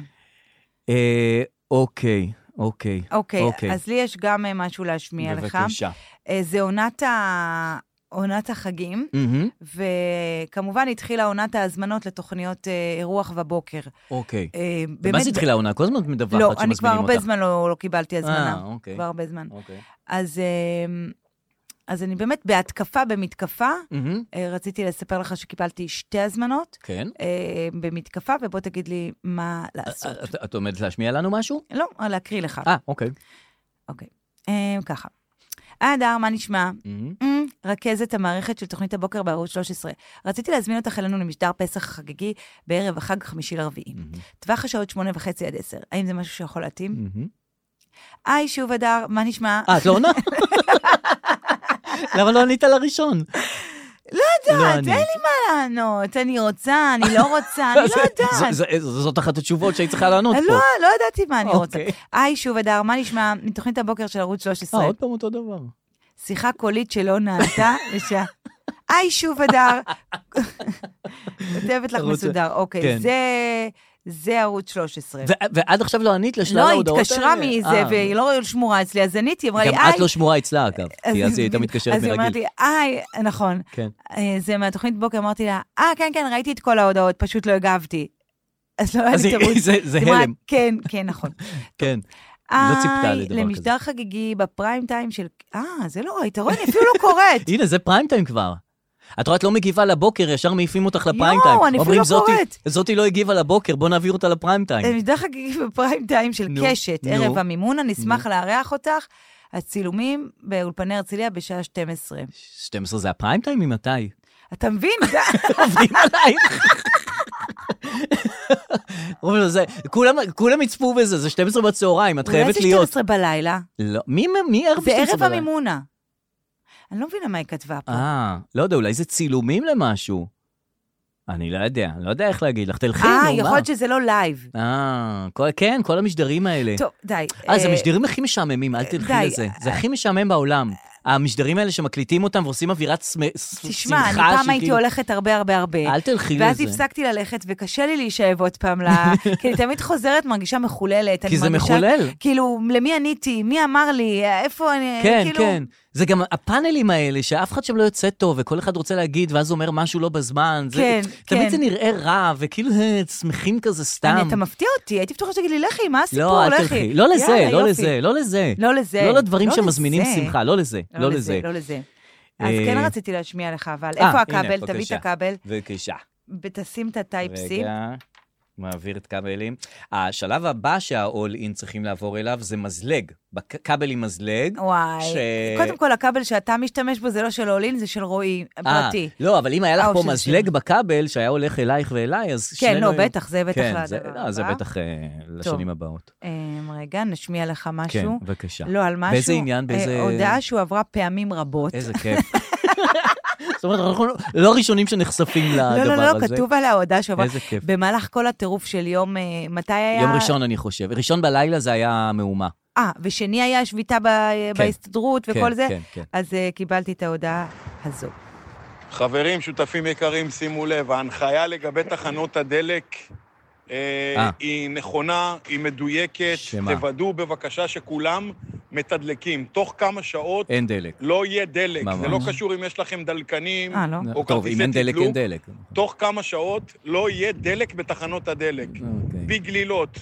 אה, אוקיי, אוקיי. אוקיי, אוקיי. אז לי יש גם אה, משהו להשמיע לך. בבקשה. אה, זה עונת, ה... עונת החגים, מהמם, וכמובן התחילה עונת ההזמנות לתוכניות אה, אירוח בבוקר. אוקיי. אה, מה באמת- זה התחילה העונה? כל הזמן את מדווחת לא, שמזמינים אותך. אני כבר הרבה זמן לא, לא קיבלתי הזמנה. אה, אוקיי. כבר הרבה זמן. אוקיי. אז, אה, אז אני באמת בהתקפה במתקפה. מהמם, אה, רציתי לספר לך שקיבלתי שתי הזמנות כן. אה, במתקפה, ובוא תגיד לי מה לעשות. אה, את- את עומדת להשמיע לנו משהו? לא, להקריא לך. אה, אוקיי. אה, ככה. היי, הדר, מה נשמע? מהמם. אמ, רכזת המערכת של תוכנית הבוקר בערוץ 13. רציתי להזמין אותך אלינו למשדר פסח החגיגי בערב החג חמישי לרביעי. אה. טווח השעות שמונה וחצי עד עשר. האם זה משהו שיכול להתאים? מהמם. היי, שוב הדר, מה נשמע? אה, את לא עונה? למה לא ענית לראשון? לא לא יודעת, אני. אין לי מה לענות. אני רוצה, אני לא רוצה, אני לא יודעת. ז- ז- ז- זאת אחת התשובות שהיית צריכה לענות פה. לא, לא ידעתי מה אני רוצה. אוקיי. היי, שוב הדר, מה נשמע? מתוכנית הבוקר של ערוץ 13. אה, עוד פעם אותו דבר. שיחה קולית שלא נענתה לשעה. היי, שוב הדר. כותבת לך ערוץ- מסודר, כן. אוקיי. זה... זה ערוץ 13. ו- ועד עכשיו לא ענית לשלל לא, היא ההודעות האלה? התקשרה מזה, אה, והיא לא שמורה אצלי, אז עניתי, היא אמרה לי, גם היי. את לא שמורה אצלה, אגב. כי אז היא הייתה מתקשרת אה, אז היא אומרת מרגיל. לי, היי, נכון. כן. אה, זה מהתוכנית בוקר, אמרתי לה, אה, כן, כן, ראיתי את כל ההודעות, פשוט לא הגבתי. אז לא היה אז לי היא- תירוץ. זה- זה היא אמרה, הלם. כן, כן, נכון. כן. לא ציפתה היי, לדבר כזה. למשדר חגיגי בפריים טיים של... אה, זה לא ראית, רואה, אני אפילו לא קוראת. הנה, זה פריים טיים כבר. את רואה, את לא מגיבה לבוקר, ישר מעיפים אותך לפריים יואו, טיים. אני אפילו אומרים, לא "זאתי- קוראת." זאתי לא הגיבה לבוקר, בוא נעביר אותה לפריים אה, טיים. משדר חגיגי בפריים טיים של נו, קשת, נו. ערב המימונה, נשמח לארח אותך. הצילומים באולפני הרצליה בשעה 12. 12 זה הפריים טיים ממתי? אתה מבין? זה- עובדים עלייך. רובל, זה- כולם- כולם יצפו בזה, זה 12 בצהריים, את אולי חייבת זה להיות. 12 בלילה. לא, מי מי ערב 12 זה ערב בלילה? המימונה. אני לא מבינה מה היא כתבה פה. אה, לא יודע, אולי זה צילומים למשהו. אני לא יודע, לא יודע איך להגיד לך, תלכי, נו, מה? אה, יכול להיות שזה לא לייב. אה, כל- כן, כל המשדרים האלה. טוב, די. אה, זה אה, המשדרים הכי משעממים, אל תלכי די, אה, לזה. זה הכי משעמם בעולם. המשדרים האלה שמקליטים אותם ועושים אווירת שמ- ס- שמחה. תשמע, אני פעם שהיא הייתי כאילו- הולכת הרבה הרבה הרבה. אל תלכי לזה. ואז הפסקתי ללכת, וקשה לי להישאב עוד פעם ל... כי אני תמיד חוזרת, מרגישה מחוללת. אני כי זה מרגישה- מחולל. כאילו, למי עניתי? מי אמר לי? איפה אני... כן, כאילו, כן. זה גם הפאנלים האלה, שאף אחד שם לא יוצא טוב, וכל אחד רוצה להגיד, ואז אומר משהו לא בזמן. זה- כן, תמיד כן. זה נראה רע, וכאילו אה, שמחים כזה סתם. אני, אתה מפתיע אותי, הייתי בטוחה שתגיד לי, לכי, מה הסיפור? לא, אל לכי." תלכי. לא לזה, יאללה, לא יופי. לזה, לא לזה. לא לזה. לא לדברים לא שמזמינים לזה. שמחה, לא לזה, לא לזה. לא לזה. אז אה, כן רציתי להשמיע לך, אבל אה, איפה הנה, הכבל? תביא את בבקשה. הכבל, בבקשה. ותשים את הטייפסי. רגע, מעביר את כבלים. השלב הבא שהאול-אין צריכים לעבור אליו זה מזלג. בק- כבל עם מזלג. וואי. ש- קודם כל, הכבל שאתה משתמש בו זה לא של אולין, זה של רועי, פרטי. לא, אבל אם היה לך אה, או פה שזה מזלג שיר. בכבל שהיה הולך אלייך ואליי, אז כן, שנינו... לא, היינו- בטח, זה בטח כן, לדבר זה- לא, זה הבא. בטח אה, לשנים הבאות. אמ, רגע, נשמיע לך כן, משהו. בבקשה. לא, על משהו. באיזה עניין, אה, באיזה- הודעה שהועברה פעמים רבות. איזה כיף. זאת אומרת, אנחנו לא- לא הראשונים שנחשפים לדבר לא, הזה. לא, לא, לא, כתוב עליה הודעה שעברה. איזה כיף. במהלך כל הטירוף של יום, אה, מתי היה? יום ראשון, אני חושב. ראשון בלילה זה היה מהומה. אה, ושני היה שביתה ב- כן. בהסתדרות כן, וכל זה. כן, כן. אז אה, קיבלתי את ההודעה הזו. חברים, שותפים יקרים, שימו לב, ההנחיה לגבי תחנות הדלק אה. אה, היא נכונה, היא מדויקת. שמה? תוודאו בבקשה שכולם מתדלקים. תוך כמה שעות אין דלק. לא יהיה דלק. ממש. זה לא קשור אם יש לכם דלקנים אה, לא? או טוב, אם כרטיסי אין דלק, אין תדלוק. דלק. תוך כמה שעות לא יהיה דלק בתחנות הדלק. אוקיי. בגלילות,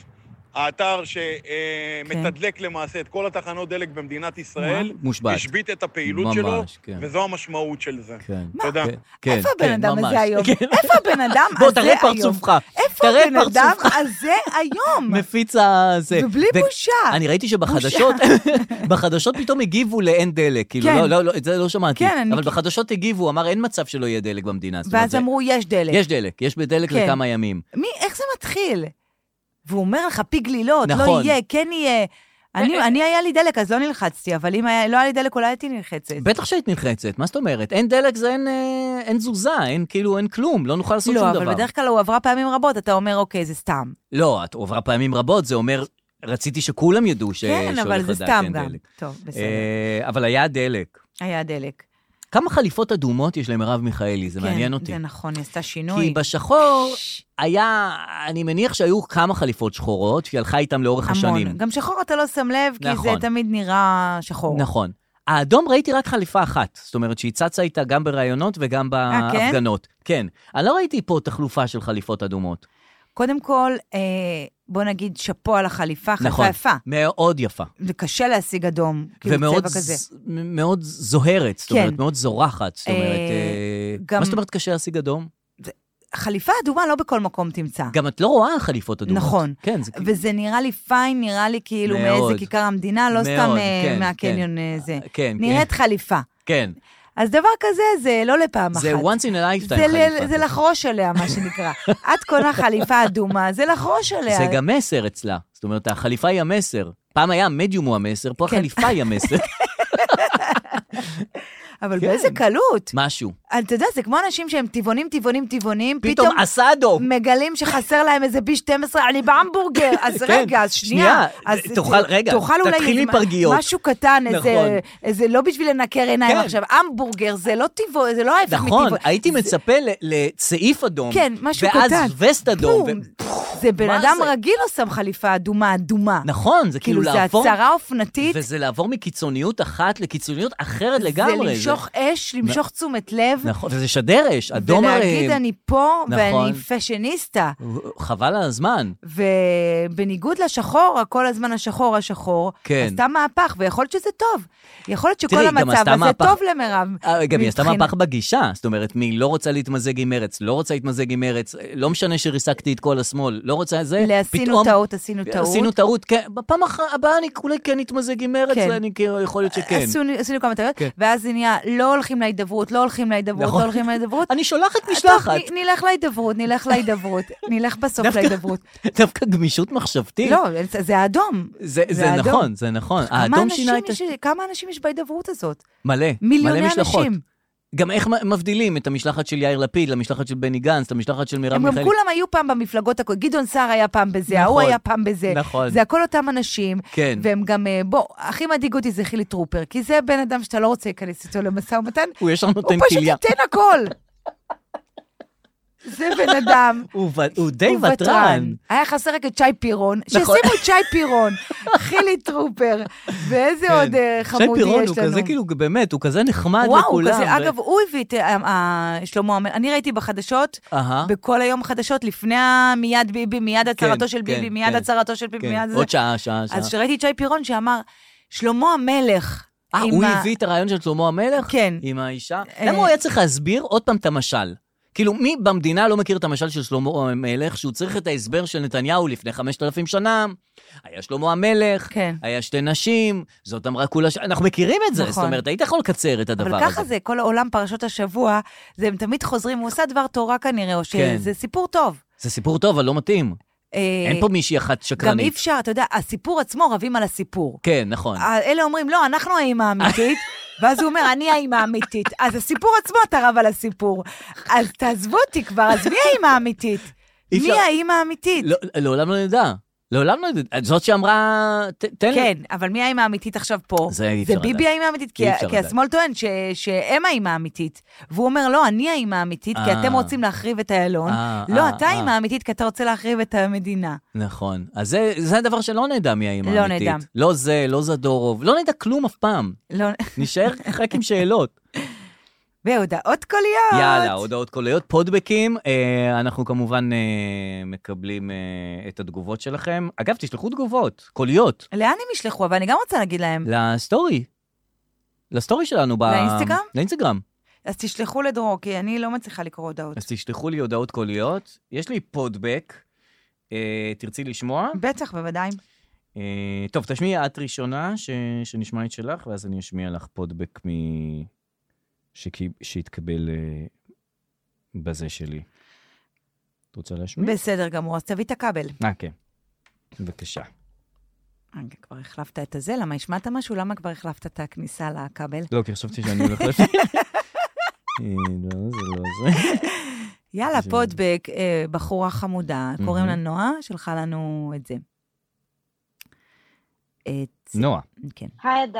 האתר שמתדלק למעשה את כל התחנות דלק במדינת ישראל, מושבת. השבית את הפעילות ממש, שלו, כן. וזו המשמעות של זה. כן. תודה. כן, כן, איפה הבן כן, אדם ממש. הזה היום? כן. איפה הבן אדם הזה היום? בוא, תראה את פרצופך. איפה תראה את הבן אדם פרצופך. הזה היום? מפיץ הזה. ובלי ו- בושה. אני ראיתי שבחדשות, בחדשות פתאום הגיבו לאין דלק, כאילו, כן. לא, לא, לא, את זה לא שמעתי. כן, אני- אבל בחדשות הגיבו, אמר אין מצב שלא יהיה דלק במדינה. זאת אומרת, ואז זה- אמרו, יש דלק. יש דלק, יש בדלק כן. לכמה ימים. מי, איך זה מתחיל? והוא אומר לך, פי גלילות, לא נכון. יהיה, כן יהיה. אני, אני היה לי דלק, אז לא נלחצתי, אבל אם היה, לא היה לי דלק, אולי הייתי נלחצת. בטח שהיית נלחצת, מה זאת אומרת? אין דלק זה אין, אה, אין תזוזה, אין כאילו, אין כלום, לא נוכל לעשות לא, שום אבל דבר. בדרך כלל הוא עברה פעמים רבות, אתה אומר, אוקיי, זה סתם. לא, את עוברה פעמים רבות, זה אומר, רציתי שכולם ידעו ש... כן, אבל שהולך זה לדעת סתם שאין גם. דלק. טוב, בסדר. אה, אבל היה דלק. היה דלק. כמה חליפות אדומות יש למרב מיכאלי? זה מעניין אותי. זה נכון, היא עשתה שינוי. כי בשחור היה, אני מניח שהיו כמה חליפות שחורות, שהיא הלכה איתם לאורך השנים. המון. גם שחור אתה לא שם לב, כי נכון. זה תמיד נראה שחור. נכון. האדום ראיתי רק חליפה אחת, זאת אומרת שהיא צצה איתה גם בראיונות וגם אה, כן? בהפגנות. כן? אני לא ראיתי פה תחלופה של חליפות אדומות. קודם כל, אה, בוא נגיד שאפו על החליפה, נכון. חליפה יפה. מאוד יפה. זה קשה להשיג אדום, כאילו ומאוד צבע כזה. ז- מ- מאוד זוהרת, זאת אומרת, כן. מאוד זורחת. זאת אומרת, אה, אה, גם- מה זאת אומרת קשה להשיג אדום? חליפה אדומה לא בכל מקום תמצא. גם את לא רואה חליפות אדומות. נכון. כן, זה כאילו... וזה נראה לי פיין, נראה לי כאילו מאוד. מאיזה כיכר המדינה, לא מאוד, סתם אה, כן, מהקניון אה, זה. כן, נראית חליפה. כן. אז דבר כזה זה לא לפעם אחת. זה once in a lifetime זה ל- חליפה. זה לחרוש עליה, מה שנקרא. את קונה חליפה אדומה, זה לחרוש עליה. זה גם מסר אצלה. זאת אומרת, החליפה היא המסר. פעם היה המדיום הוא המסר, פה כן. החליפה היא המסר. אבל כן. באיזה קלות. משהו. אתה יודע, זה כמו אנשים שהם טבעונים, טבעונים, טבעונים, פתאום פתאום עשה אדום. מגלים שחסר להם איזה בי 12, אני בהמבורגר, אז כן, רגע, אז שנייה. שנייה, אה, אז תאכל- רגע, תאכל אולי תתחיל איזה- מפרגיות. משהו קטן, נכון. איזה, איזה, לא בשביל לנקר עיניים כן. עכשיו, המבורגר זה לא טבעו, זה לא ההפך מטבעו. נכון, הייתי מצפה ל- לצעיף אדום. כן, משהו קטן. ואז וסט אדום. בום. ו- זה בן מה אדם זה? רגיל לא שם חליפה אדומה אדומה. נכון, זה כאילו כאילו, זה לעבור... הצהרה אופנתית, וזה לעבור מקיצוניות אחת לקיצוניות אחרת זה לגמרי. למשוך אש, למשוך תשומת לב, נכון, וזה שדר אש, אדום ולהגיד אני פה, נכון. ואני פשניסתה. חבל על הזמן. ובניגוד לשחור, כל הזמן השחור השחור, כן. עשתה מהפך, ויכול להיות שזה טוב. יכול להיות שכל תראי, גם המצב עשתה הזה מהפך- טוב למרב. אה, גם היא עשתה מבחינה- מהפך בגישה, זאת אומרת, מי לא רוצה להתמזג עם מרץ, לא רוצה להתמזג עם מרץ, אה, לא משנה שריסקתי את כל השמאל, לא רוצה זה, לעשינו טעות, עשינו טעות. עשינו טעות, כן, בפעם אח- הבאה אני אולי כן אתמזג עם מרץ, כן. אני כאילו, יכול להיות שכן. עשינו, עשינו כמה טעויות, כן. ואז זה נהיה, לא הולכים להידברות, לא הולכים להידברות, נכון. לא הולכים להידברות. אני שולחת משלחת. אה, טוב, נ- נלך להידברות, נלך להידברות, נלך בסוף דווקא- להידברות. דווקא גמישות מחשבתית. לא, זה- זה האדום. זה, זה, זה האדום. נכון, זה נכון. כמה האדום אנשים שינה את... יש- הש- כמה אנשים יש בהידברות הזאת? מלא, מיליוני מלא משלחות. אנשים. גם איך מ- מבדילים את המשלחת של יאיר לפיד, למשלחת של בני גנץ, למשלחת של מרב הם גם מיכאלי. כולם היו פעם במפלגות הכול. גדעון סער היה פעם בזה, ההוא נכון, היה פעם בזה. נכון. זה הכל אותם אנשים. כן. והם גם, אה, בוא, הכי מדאיג אותי זה חילי טרופר, כי זה בן אדם שאתה לא רוצה להיכנס איתו למשא ומתן, הוא ישר הוא נותן פשוט כליה. ייתן הכל. זה בן אדם. הוא, ו... הוא די הוא ותרן. היה חסר רק את שי פירון, נכון. שישימו את שי פירון, חילי טרופר, ואיזה עוד אה, כן. שי חמודי יש לנו. פירון הוא כזה כאילו, באמת, הוא כזה נחמד וואו, הוא לכולם. כזה, אגב, הוא הביא את אה, אה, שלמה המלך, אני ראיתי בחדשות, אהה. בכל היום חדשות, לפני ה- מיד ביבי, מיד הצהרתו של כן, ביבי, כן. מיד הצהרתו של ביבי, כן, מיד זה. עוד שעה, שעה, שעה. אז כשראיתי את שי פירון שאמר, שלמה המלך. אה, עם הוא ה- הביא את הרעיון של שלמה המלך? כן. עם האישה? אה, למה הוא היה צריך להסביר עוד פעם את המשל? כאילו, מי במדינה לא מכיר את המשל של שלמה המלך, שהוא צריך את ההסבר של נתניהו לפני 5,000 שנה? היה שלמה המלך, כן. היה שתי נשים, זאת אמרה כולה ש... אנחנו מכירים את זה, נכון. זאת אומרת, היית יכול לקצר את הדבר הזה. אבל ככה זה, כל העולם פרשות השבוע, זה הם תמיד חוזרים, הוא עושה דבר תורה כנראה, או כן. שזה סיפור טוב. זה סיפור טוב, אבל לא מתאים. אה, אין פה מישהי אחת גם אי שקרנית. אפשר, אתה יודע, הסיפור עצמו, רבים על הסיפור. כן, נכון. ה- אלה אומרים, לא, אנחנו האימא האמיתית, ואז הוא אומר, אני האימא האמיתית. אז הסיפור עצמו, אתה רב על הסיפור. אז תעזבו אותי כבר, אז מי האימא האמיתית? אי מי אפשר- האימא האמיתית? לא- לעולם לא נדע. לעולם לא יודעת, זאת שאמרה, ת- תן לי. כן, אבל מי האימא האמיתית עכשיו פה? זה אי אפשר זה לדעת. ביבי האימא האמיתית, כי אי ה- אפשר כי לדעת. השמאל טוען ש- שהם האימא האמיתית. והוא אומר, לא, אני האימא האמיתית, כי אה. אתם רוצים להחריב את איילון. אה, לא, אה, אתה אה. האימא האמיתית, כי אתה רוצה להחריב את המדינה. נכון. אז זה, זה הדבר שלא נדע מי האימא לא האמיתית. נדע. לא זה, לא זדורוב, לא נדע כלום אף פעם. לא- נשאר רק עם שאלות. והודעות קוליות. יאללה, הודעות קוליות, פודבקים. אה, אנחנו כמובן אה, מקבלים אה, את התגובות שלכם. אגב, תשלחו תגובות, קוליות, לאן הם ישלחו? אבל אני גם רוצה להגיד להם. לסטורי. לסטורי שלנו. ב- לאינסטגרם? לאינסטגרם. אז תשלחו לדרור, כי אני לא מצליחה לקרוא הודעות. אז תשלחו לי הודעות קוליות. יש לי פודבק. אה, תרצי לשמוע? בטח, בוודאי. אה, טוב, תשמיעי את ראשונה, ש... שנשמע את שלך, ואז אני אשמיע לך פודבק מ... שקי... שהתקבל אה, בזה שלי. את רוצה להשמיע? בסדר גמור, אז תביא את הכבל. אה, כן. בבקשה. רגע, כבר החלפת את הזה? למה השמעת משהו? למה כבר החלפת את הכניסה לכבל? לא, כי חשבתי שאני הולך להשמיע. אה, לא, זה לא זה. יאללה, זה- פודבק, אה, בחורה חמודה, קוראים לה מהמם. נועה, שלחה לנו את זה. את... נועה, כן. היי אדר,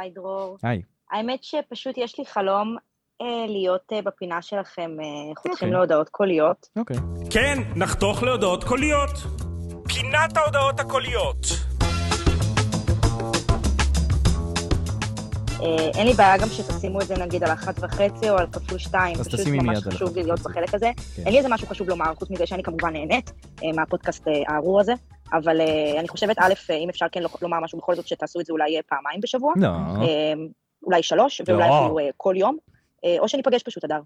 היי דרור. היי. האמת שפשוט יש לי חלום אה, להיות אה, בפינה שלכם אה, אוקיי. חותכים להודעות קוליות. אוקיי. כן, נחתוך להודעות קוליות. פינת ההודעות הקוליות. אה, אין לי בעיה גם שתשימו את זה נגיד על אחת וחצי או על כפול שתיים. אז פשוט תשימי מיד ממש על חשוב אחת לי להיות וחצי. בחלק הזה. כן. אין לי איזה משהו חשוב לומר, חוץ מזה שאני כמובן נהנית אה, מהפודקאסט אה, הארור הזה, אבל אה, אני חושבת, א', אה, אם אפשר כן לומר משהו בכל זאת, שתעשו את זה אולי אה, פעמיים בשבוע. לא. אוקיי. אה, אולי שלוש, ואולי לא. אפילו אה, כל יום, אה, או שניפגש פשוט, אדר.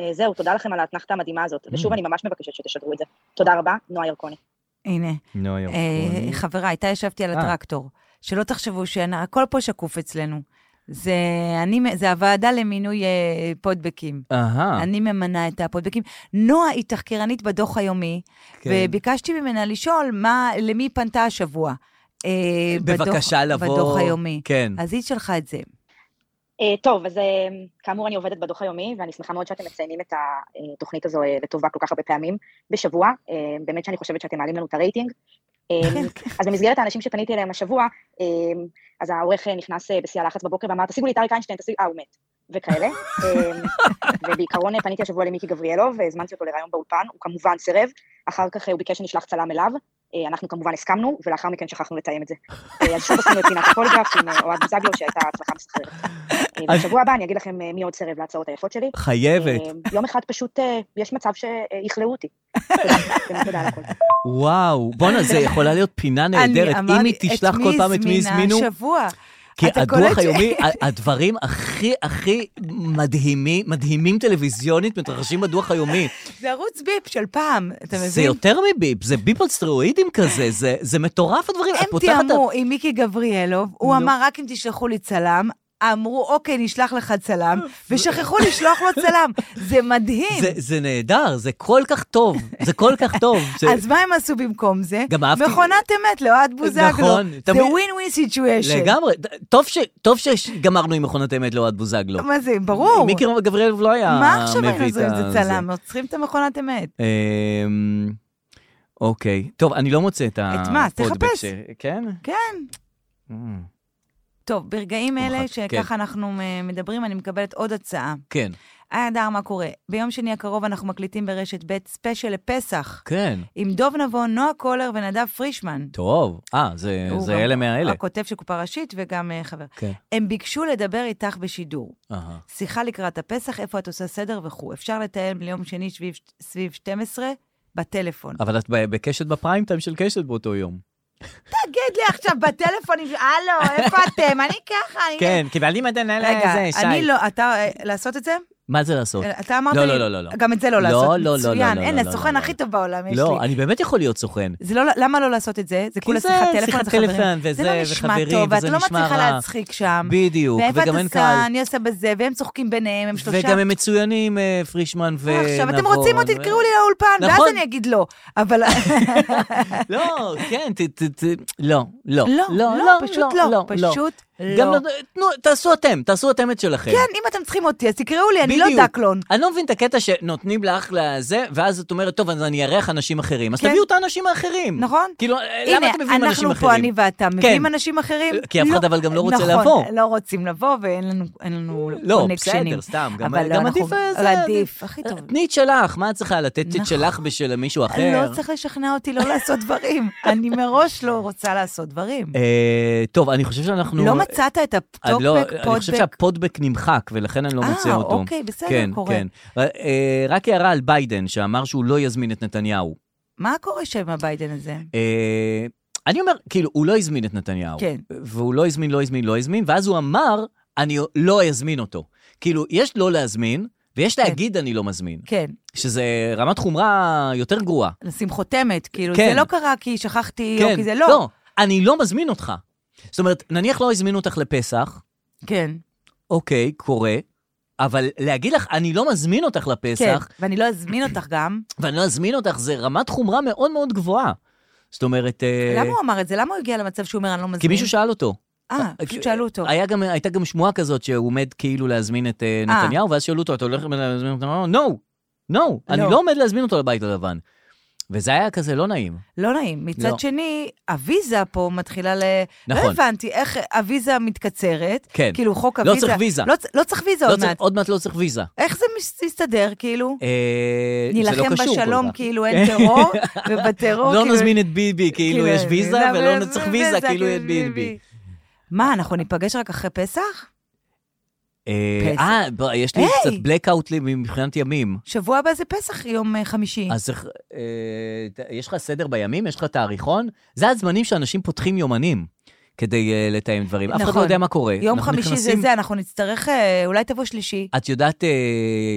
אה, זהו, תודה לכם על האתנחתא המדהימה הזאת, ושוב, Mm. אני ממש מבקשת שתשדרו את זה. תודה רבה, נועה ירקוני. הנה, נועה אה, ירקוני. חברה, איתה ישבתי על אה. הטרקטור. שלא תחשבו שהכל פה שקוף אצלנו. זה, אני, מ- זה הוועדה למינוי אה, פודבקים. אהה. אני ממנה את הפודבקים. נועה היא תחקירנית בדוח היומי, כן. וביקשתי ממנה לשאול מה, למי היא פנתה השבוע. אה, בדוח- בבקשה לבוא. בדוח היומי. כן. אז היא שלחה את זה. אה, טוב, אז אה, כאמור, אני עובדת בדוח היומי, ואני שמחה מאוד שאתם מציינים את התוכנית הזו אה, לטובה כל כך הרבה פעמים בשבוע. אה, באמת שאני חושבת שאתם מעלים לנו את הרייטינג. אה, אז במסגרת האנשים שפניתי אליהם השבוע, אה, אז העורך אה, נכנס אה, בשיא הלחץ בבוקר ואמר, תשיגו לי את אריק איינשטיין, תשיגו, אה, הוא מת, וכאלה. אה, ובעיקרון אה, פניתי השבוע למיקי גבריאלוב, הזמנתי אותו לראיון באולפן, הוא כמובן סירב, אחר כך אה, הוא ביקש שנשלח צלם אליו, אה, אנחנו כמובן הסכמנו, ולאחר מכן שכחנו לתאם את זה. אה, אז שוב עשינו את פינת הפולגרף עם אה, אוהד בוזגלו, שהייתה הצלחה מסחררת. אה, בשבוע הבא אני אגיד לכם אה, מי עוד סירב להצעות היפות שלי. חייבת. אה, יום אחד פשוט אה, יש מצב שיכלאו אותי. תודה, באמת תודה על הכול. וואו. בואנה, זה יכולה להיות פינה נהדרת. אני אם היא אמרתי, תשלח כל פעם את מי הזמינו, את מי הזמינה השבוע. כי אתה קולט הדוח ש- היומי, ה- הדברים הכי הכי מדהימים, מדהימים טלוויזיונית, מתרחשים בדוח היומי. זה ערוץ ביפ של פעם, אתה זה מבין? יותר מביפ, זה ביפ על סטרואידים כזה, זה- זה מטורף הדברים. את הם פותחת את- תיאמו עם מיקי גבריאלוב, הוא נו. אמר רק אם תשלחו לי צלם. אמרו, אוקיי, נשלח לך צלם, ושכחו לשלוח לו צלם. זה מדהים. זה- זה נהדר, זה כל כך טוב, זה כל כך טוב. זה- אז מה הם עשו במקום זה? גם אהבתי- מכונת אמת לאוהד בוזגלו. נכון, זה תמיד- ווין ווין סיטואשן. לגמרי, טוב ש- טוב שגמרנו עם מכונת אמת לאוהד בוזגלו. מה זה, ברור. מיקי גבריאלוב לא היה מביא את ה... מה עכשיו היינו עושים עם זה צלם? עוצרים את המכונת אמת. אמ, אוקיי. טוב, אני לא מוצא את הפודבק. מה? אז תחפש. ש- כן? כן. אמ, טוב, ברגעים אלה מוחק, שככה אנחנו אה, מדברים, אני מקבלת עוד הצעה. כן, היי, אדר, מה קורה? ביום שני הקרוב אנחנו מקליטים ברשת ב' ספיישל לפסח, כן. עם דוב נבון, נועה קולר ונדב פרישמן. טוב. אה, זה, הוא זה גם אלה מהאלה. הכותב של קופה ראשית וגם אה, חבר. כן. הם ביקשו לדבר איתך בשידור. אהה. שיחה לקראת הפסח, איפה את עושה סדר וכו'. אפשר לתאם ליום שני סביב, סביב 12 בטלפון. אבל את ב- בקשת בפריים טיים של קשת באותו יום. תגיד לי עכשיו בטלפון, הלו, איפה אתם? אני ככה, אני... כן, קיבלתי מתנה אה, רגע, לזה, שי. אני לא, אה, אתה, אה, לעשות את זה? מה זה לעשות? אתה אמרת לא, לי, לא, לא, לא, לא. גם את זה לא לא, לעשות, לא, לא, מצוין, לא, לא, אין, לא, לא, הסוכן לא, הכי לא. טוב בעולם יש לי. לא, אני באמת יכול להיות סוכן. זה לא, למה לא לעשות את זה? זה כולה זה שיחת טלפון, שיחת זה חברים. טלפון, זה לא וזה, נשמע וחברים, טוב, ואת וזה לא נשמע מצליחה רע. להצחיק שם. בדיוק, ואיפה וגם את אין עושה, קהל. אני עושה בזה, והם צוחקים ביניהם, הם שלושה. וגם הם מצוינים, אה, פרישמן ונבון. אה, עכשיו, אתם רוצים אותי, ו- תקראו לי לאולפן, ואז נכון. אני אגיד לא. אבל... לא, כן, ת... ת- ת- לא, לא. לא, לא, פשוט לא, פשוט גם לא, תנו, תעשו אתם, תעשו אתם את שלכם. כן, אם אתם צריכים אותי, אז תקראו לי, אני לא בדיוק. דקלון. אני לא מבין את הקטע שנותנים לך לזה, ואז את אומרת, טוב, אז אני אארח אנשים אחרים. אז כן. תביאו את האנשים האחרים. נכון. כאילו, למה אתם מביאים הנה, אנשים אנחנו אחרים? פה, אני ואתה, מביאים כן. אנשים אחרים? כי אף אחד אבל גם לא רוצה נכון, לבוא. לא רוצים לבוא, ואין לנו- אין לנו לא, קונקשנים. בסדר, סתם, גם- אבל לא, גם אנחנו- עדיף, אה, אבל זה- עדיף, הכי טוב. תני את שלך, מה את צריכה לתת את נכון. שלך בשביל מישהו אחר? לא צריך לשכנע אותי לא לעשות דברים. אני מראש לא רוצה לעשות דברים. אה, טוב, אני חושב שאנחנו... לא מצאת את אני לא- הפטופק, אני חושב פודבק? שהפודבק נמחק, ולכן אני לא אה, מוצא אותו. אוקיי, בסדר, כן, קורה. כן. אה, אה, רק הערה על ביידן, שאמר שהוא לא יזמין את נתניהו. מה קורה שם עם הביידן הזה? אה, אני אומר, כאילו, הוא לא הזמין את נתניהו. כן. והוא לא הזמין, לא הזמין, לא הזמין, ואז הוא אמר, אני לא אזמין אותו. כאילו, יש לא להזמין, ויש להגיד אני לא מזמין. כן, שזה רמת חומרה יותר גרועה. לשים חותמת, כאילו, כן. זה לא קרה כי שכחתי, או כן. כי זה לא. לא, אני לא מזמין אותך. זאת אומרת, נניח לא הזמינו אותך לפסח, כן, אוקיי, קורה, אבל להגיד לך, אני לא מזמין אותך כן, לפסח, ואני לא אזמין אותך גם. ואני לא אזמין אותך, זה רמת חומרה מאוד מאוד גבוהה. זאת אומרת... אה, למה הוא אמר את זה? למה הוא הגיע למצב שהוא אומר, אני לא מזמין? כי מישהו שאל אותו. אה, פשוט שאלו אותו. היה גם, הייתה גם שמועה כזאת שהוא עומד כאילו להזמין את אה, אה. נתניהו, ואז שאלו אותו, אתה הולך להזמין אותו? הוא אמר, נו, נו, אני לא. לא עומד להזמין אותו לבית הלבן. וזה היה כזה לא נעים. לא נעים. מצד לא. שני, הוויזה פה מתחילה ל... לא נכון. הבנתי איך הוויזה מתקצרת. כן. כאילו, חוק לא הוויזה... צריך ויזה. לא צ- לא צריך ויזה לא עוד צריך- מעט. עוד מעט לא צריך ויזה. איך זה מס- מסתדר, כאילו? אה, זה לא נילחם קשור כל בשלום, כך. כאילו אין טרור, ובטרור, לא כאילו... נזמין את ביבי, כאילו יש ויזה, לא, ולא לא, צריך לא, ויזה, כאילו יש ביבי. מה, אנחנו ניפגש רק אחרי פסח? אה, פסח. אה, בוא, יש לי היי! קצת blackout לי מבחינת ימים. שבוע הבא זה פסח, יום אה, חמישי. אז צריך, אה, ת- יש לך סדר בימים? יש לך תאריכון? זה הזמנים שאנשים פותחים יומנים כדי אה, לתאם דברים. אף אחד לא נכון. יודע מה קורה. יום אנחנו חמישי זה נכנסים- זה, אנחנו נצטרך, אה, אולי תבוא שלישי. את יודעת, אה,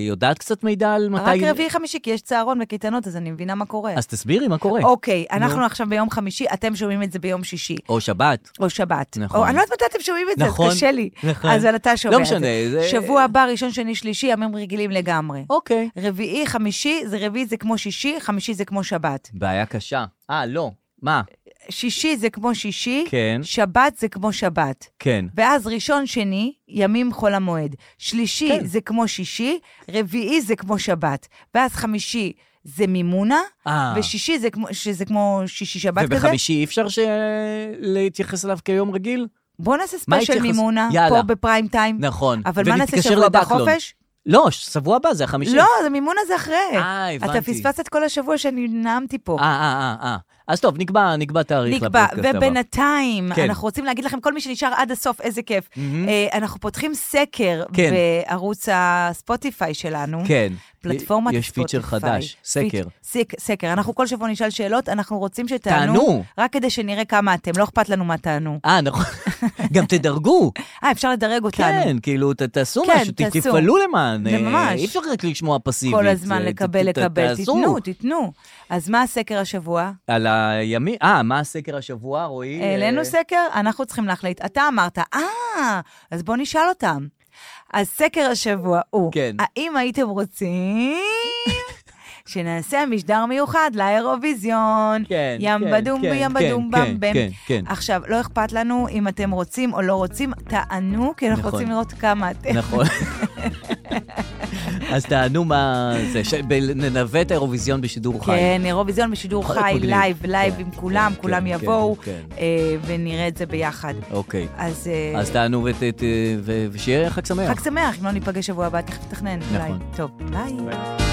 יודעת קצת מידע על מתי... רק רביעי חמישי, כי יש צהרון וקייטנות, אז אני מבינה מה קורה. אז תסבירי מה קורה. אוקיי, אנחנו נו. עכשיו ביום חמישי, אתם שומעים את זה ביום שישי, או שבת. או שבת. נכון. או- אני לא יודעת מתי אתם שומעים את זה, אז נכון, קשה לי. נכון. אז אבל אתה שומע לא את זה. משנה, זה- שבוע הבא, ראשון, שני, שלישי, ימים רגילים לגמרי. אוקיי. רביעי, חמישי, זה רביעי זה כמו שישי, חמישי זה כמו שבת. בעיה קשה. אה, לא. מה? שישי זה כמו שישי, כן. שבת זה כמו שבת. כן. ואז ראשון, שני, ימים חול המועד. שלישי כן. זה כמו שישי, רביעי זה כמו שבת. ואז חמישי זה מימונה, אה. ושישי זה כמו, שזה כמו שישי שבת כזה. ובחמישי אי אפשר ש... להתייחס אליו כיום רגיל? בוא נעשה מה ספיישל התייחס- מימונה, יאללה. פה בפריים טיים. נכון. אבל מה נעשה ונתקשר שבוע הבא לדקלון. חופש? לא, שבוע הבא זה החמישי. לא, זה מימונה זה אחרי. אה, הבנתי. אתה פספסת את כל השבוע שאני נאמתי פה. אה, אה, אה, אה. אז טוב, נקבע, נקבע תאריך נקבע, לפודקאסט הבא. ובינתיים, כן. אנחנו רוצים להגיד לכם, כל מי שנשאר עד הסוף, איזה כיף. אה, אנחנו פותחים סקר כן. בערוץ הספוטיפיי שלנו. כן. פלטפורמת יש פיצ'ר ספוטיפיי. חדש, סקר. פיצ'- סק- סקר. אנחנו כל שבוע נשאל שאלות, אנחנו רוצים שתענו. תענו. רק כדי שנראה כמה אתם, לא אכפת לנו מה תענו. אה, נכון. גם תדרגו. אה, אפשר לדרג אותנו. כן, כאילו, ת- תעשו כן, משהו, ת- תעשו. תפעלו למען. זה אה, ממש. אי אפשר רק לשמוע פסיבית. כל הזמן אה, ת- לקבל, ת- לקבל. תעשו. תיתנו, תיתנו. אז מה הסקר השבוע? על הימין, אה, מה הסקר השבוע, רועי? העלינו אה, סקר, אנחנו צריכים להחליט. אתה אמרת, אה, אז בוא נשאל אותם. אז סקר השבוע הוא, כן. האם הייתם רוצים שנעשה משדר מיוחד לאירוויזיון? כן, ים כן, בדום כן, כן, בים בדום כן, במ במ. כן, כן. עכשיו, לא אכפת לנו אם אתם רוצים או לא רוצים, תענו, כי אנחנו נכון. רוצים לראות כמה אתם. נכון. אז תענו מה זה, ש- ב- ננווה את האירוויזיון בשידור חי. כן, אירוויזיון בשידור יכול להיות חי, מגניב. לייב, לייב כן, עם כולם, כן, כולם כן, יבואו, כן. אה, ונראה את זה ביחד. אוקיי. אז... אה, אז תענו ות- ת- ו- ושיהיה חג שמח. חג שמח, אם לא ניפגש שבוע הבא, תכף נתכנן. אולי. נכון. טוב, ביי.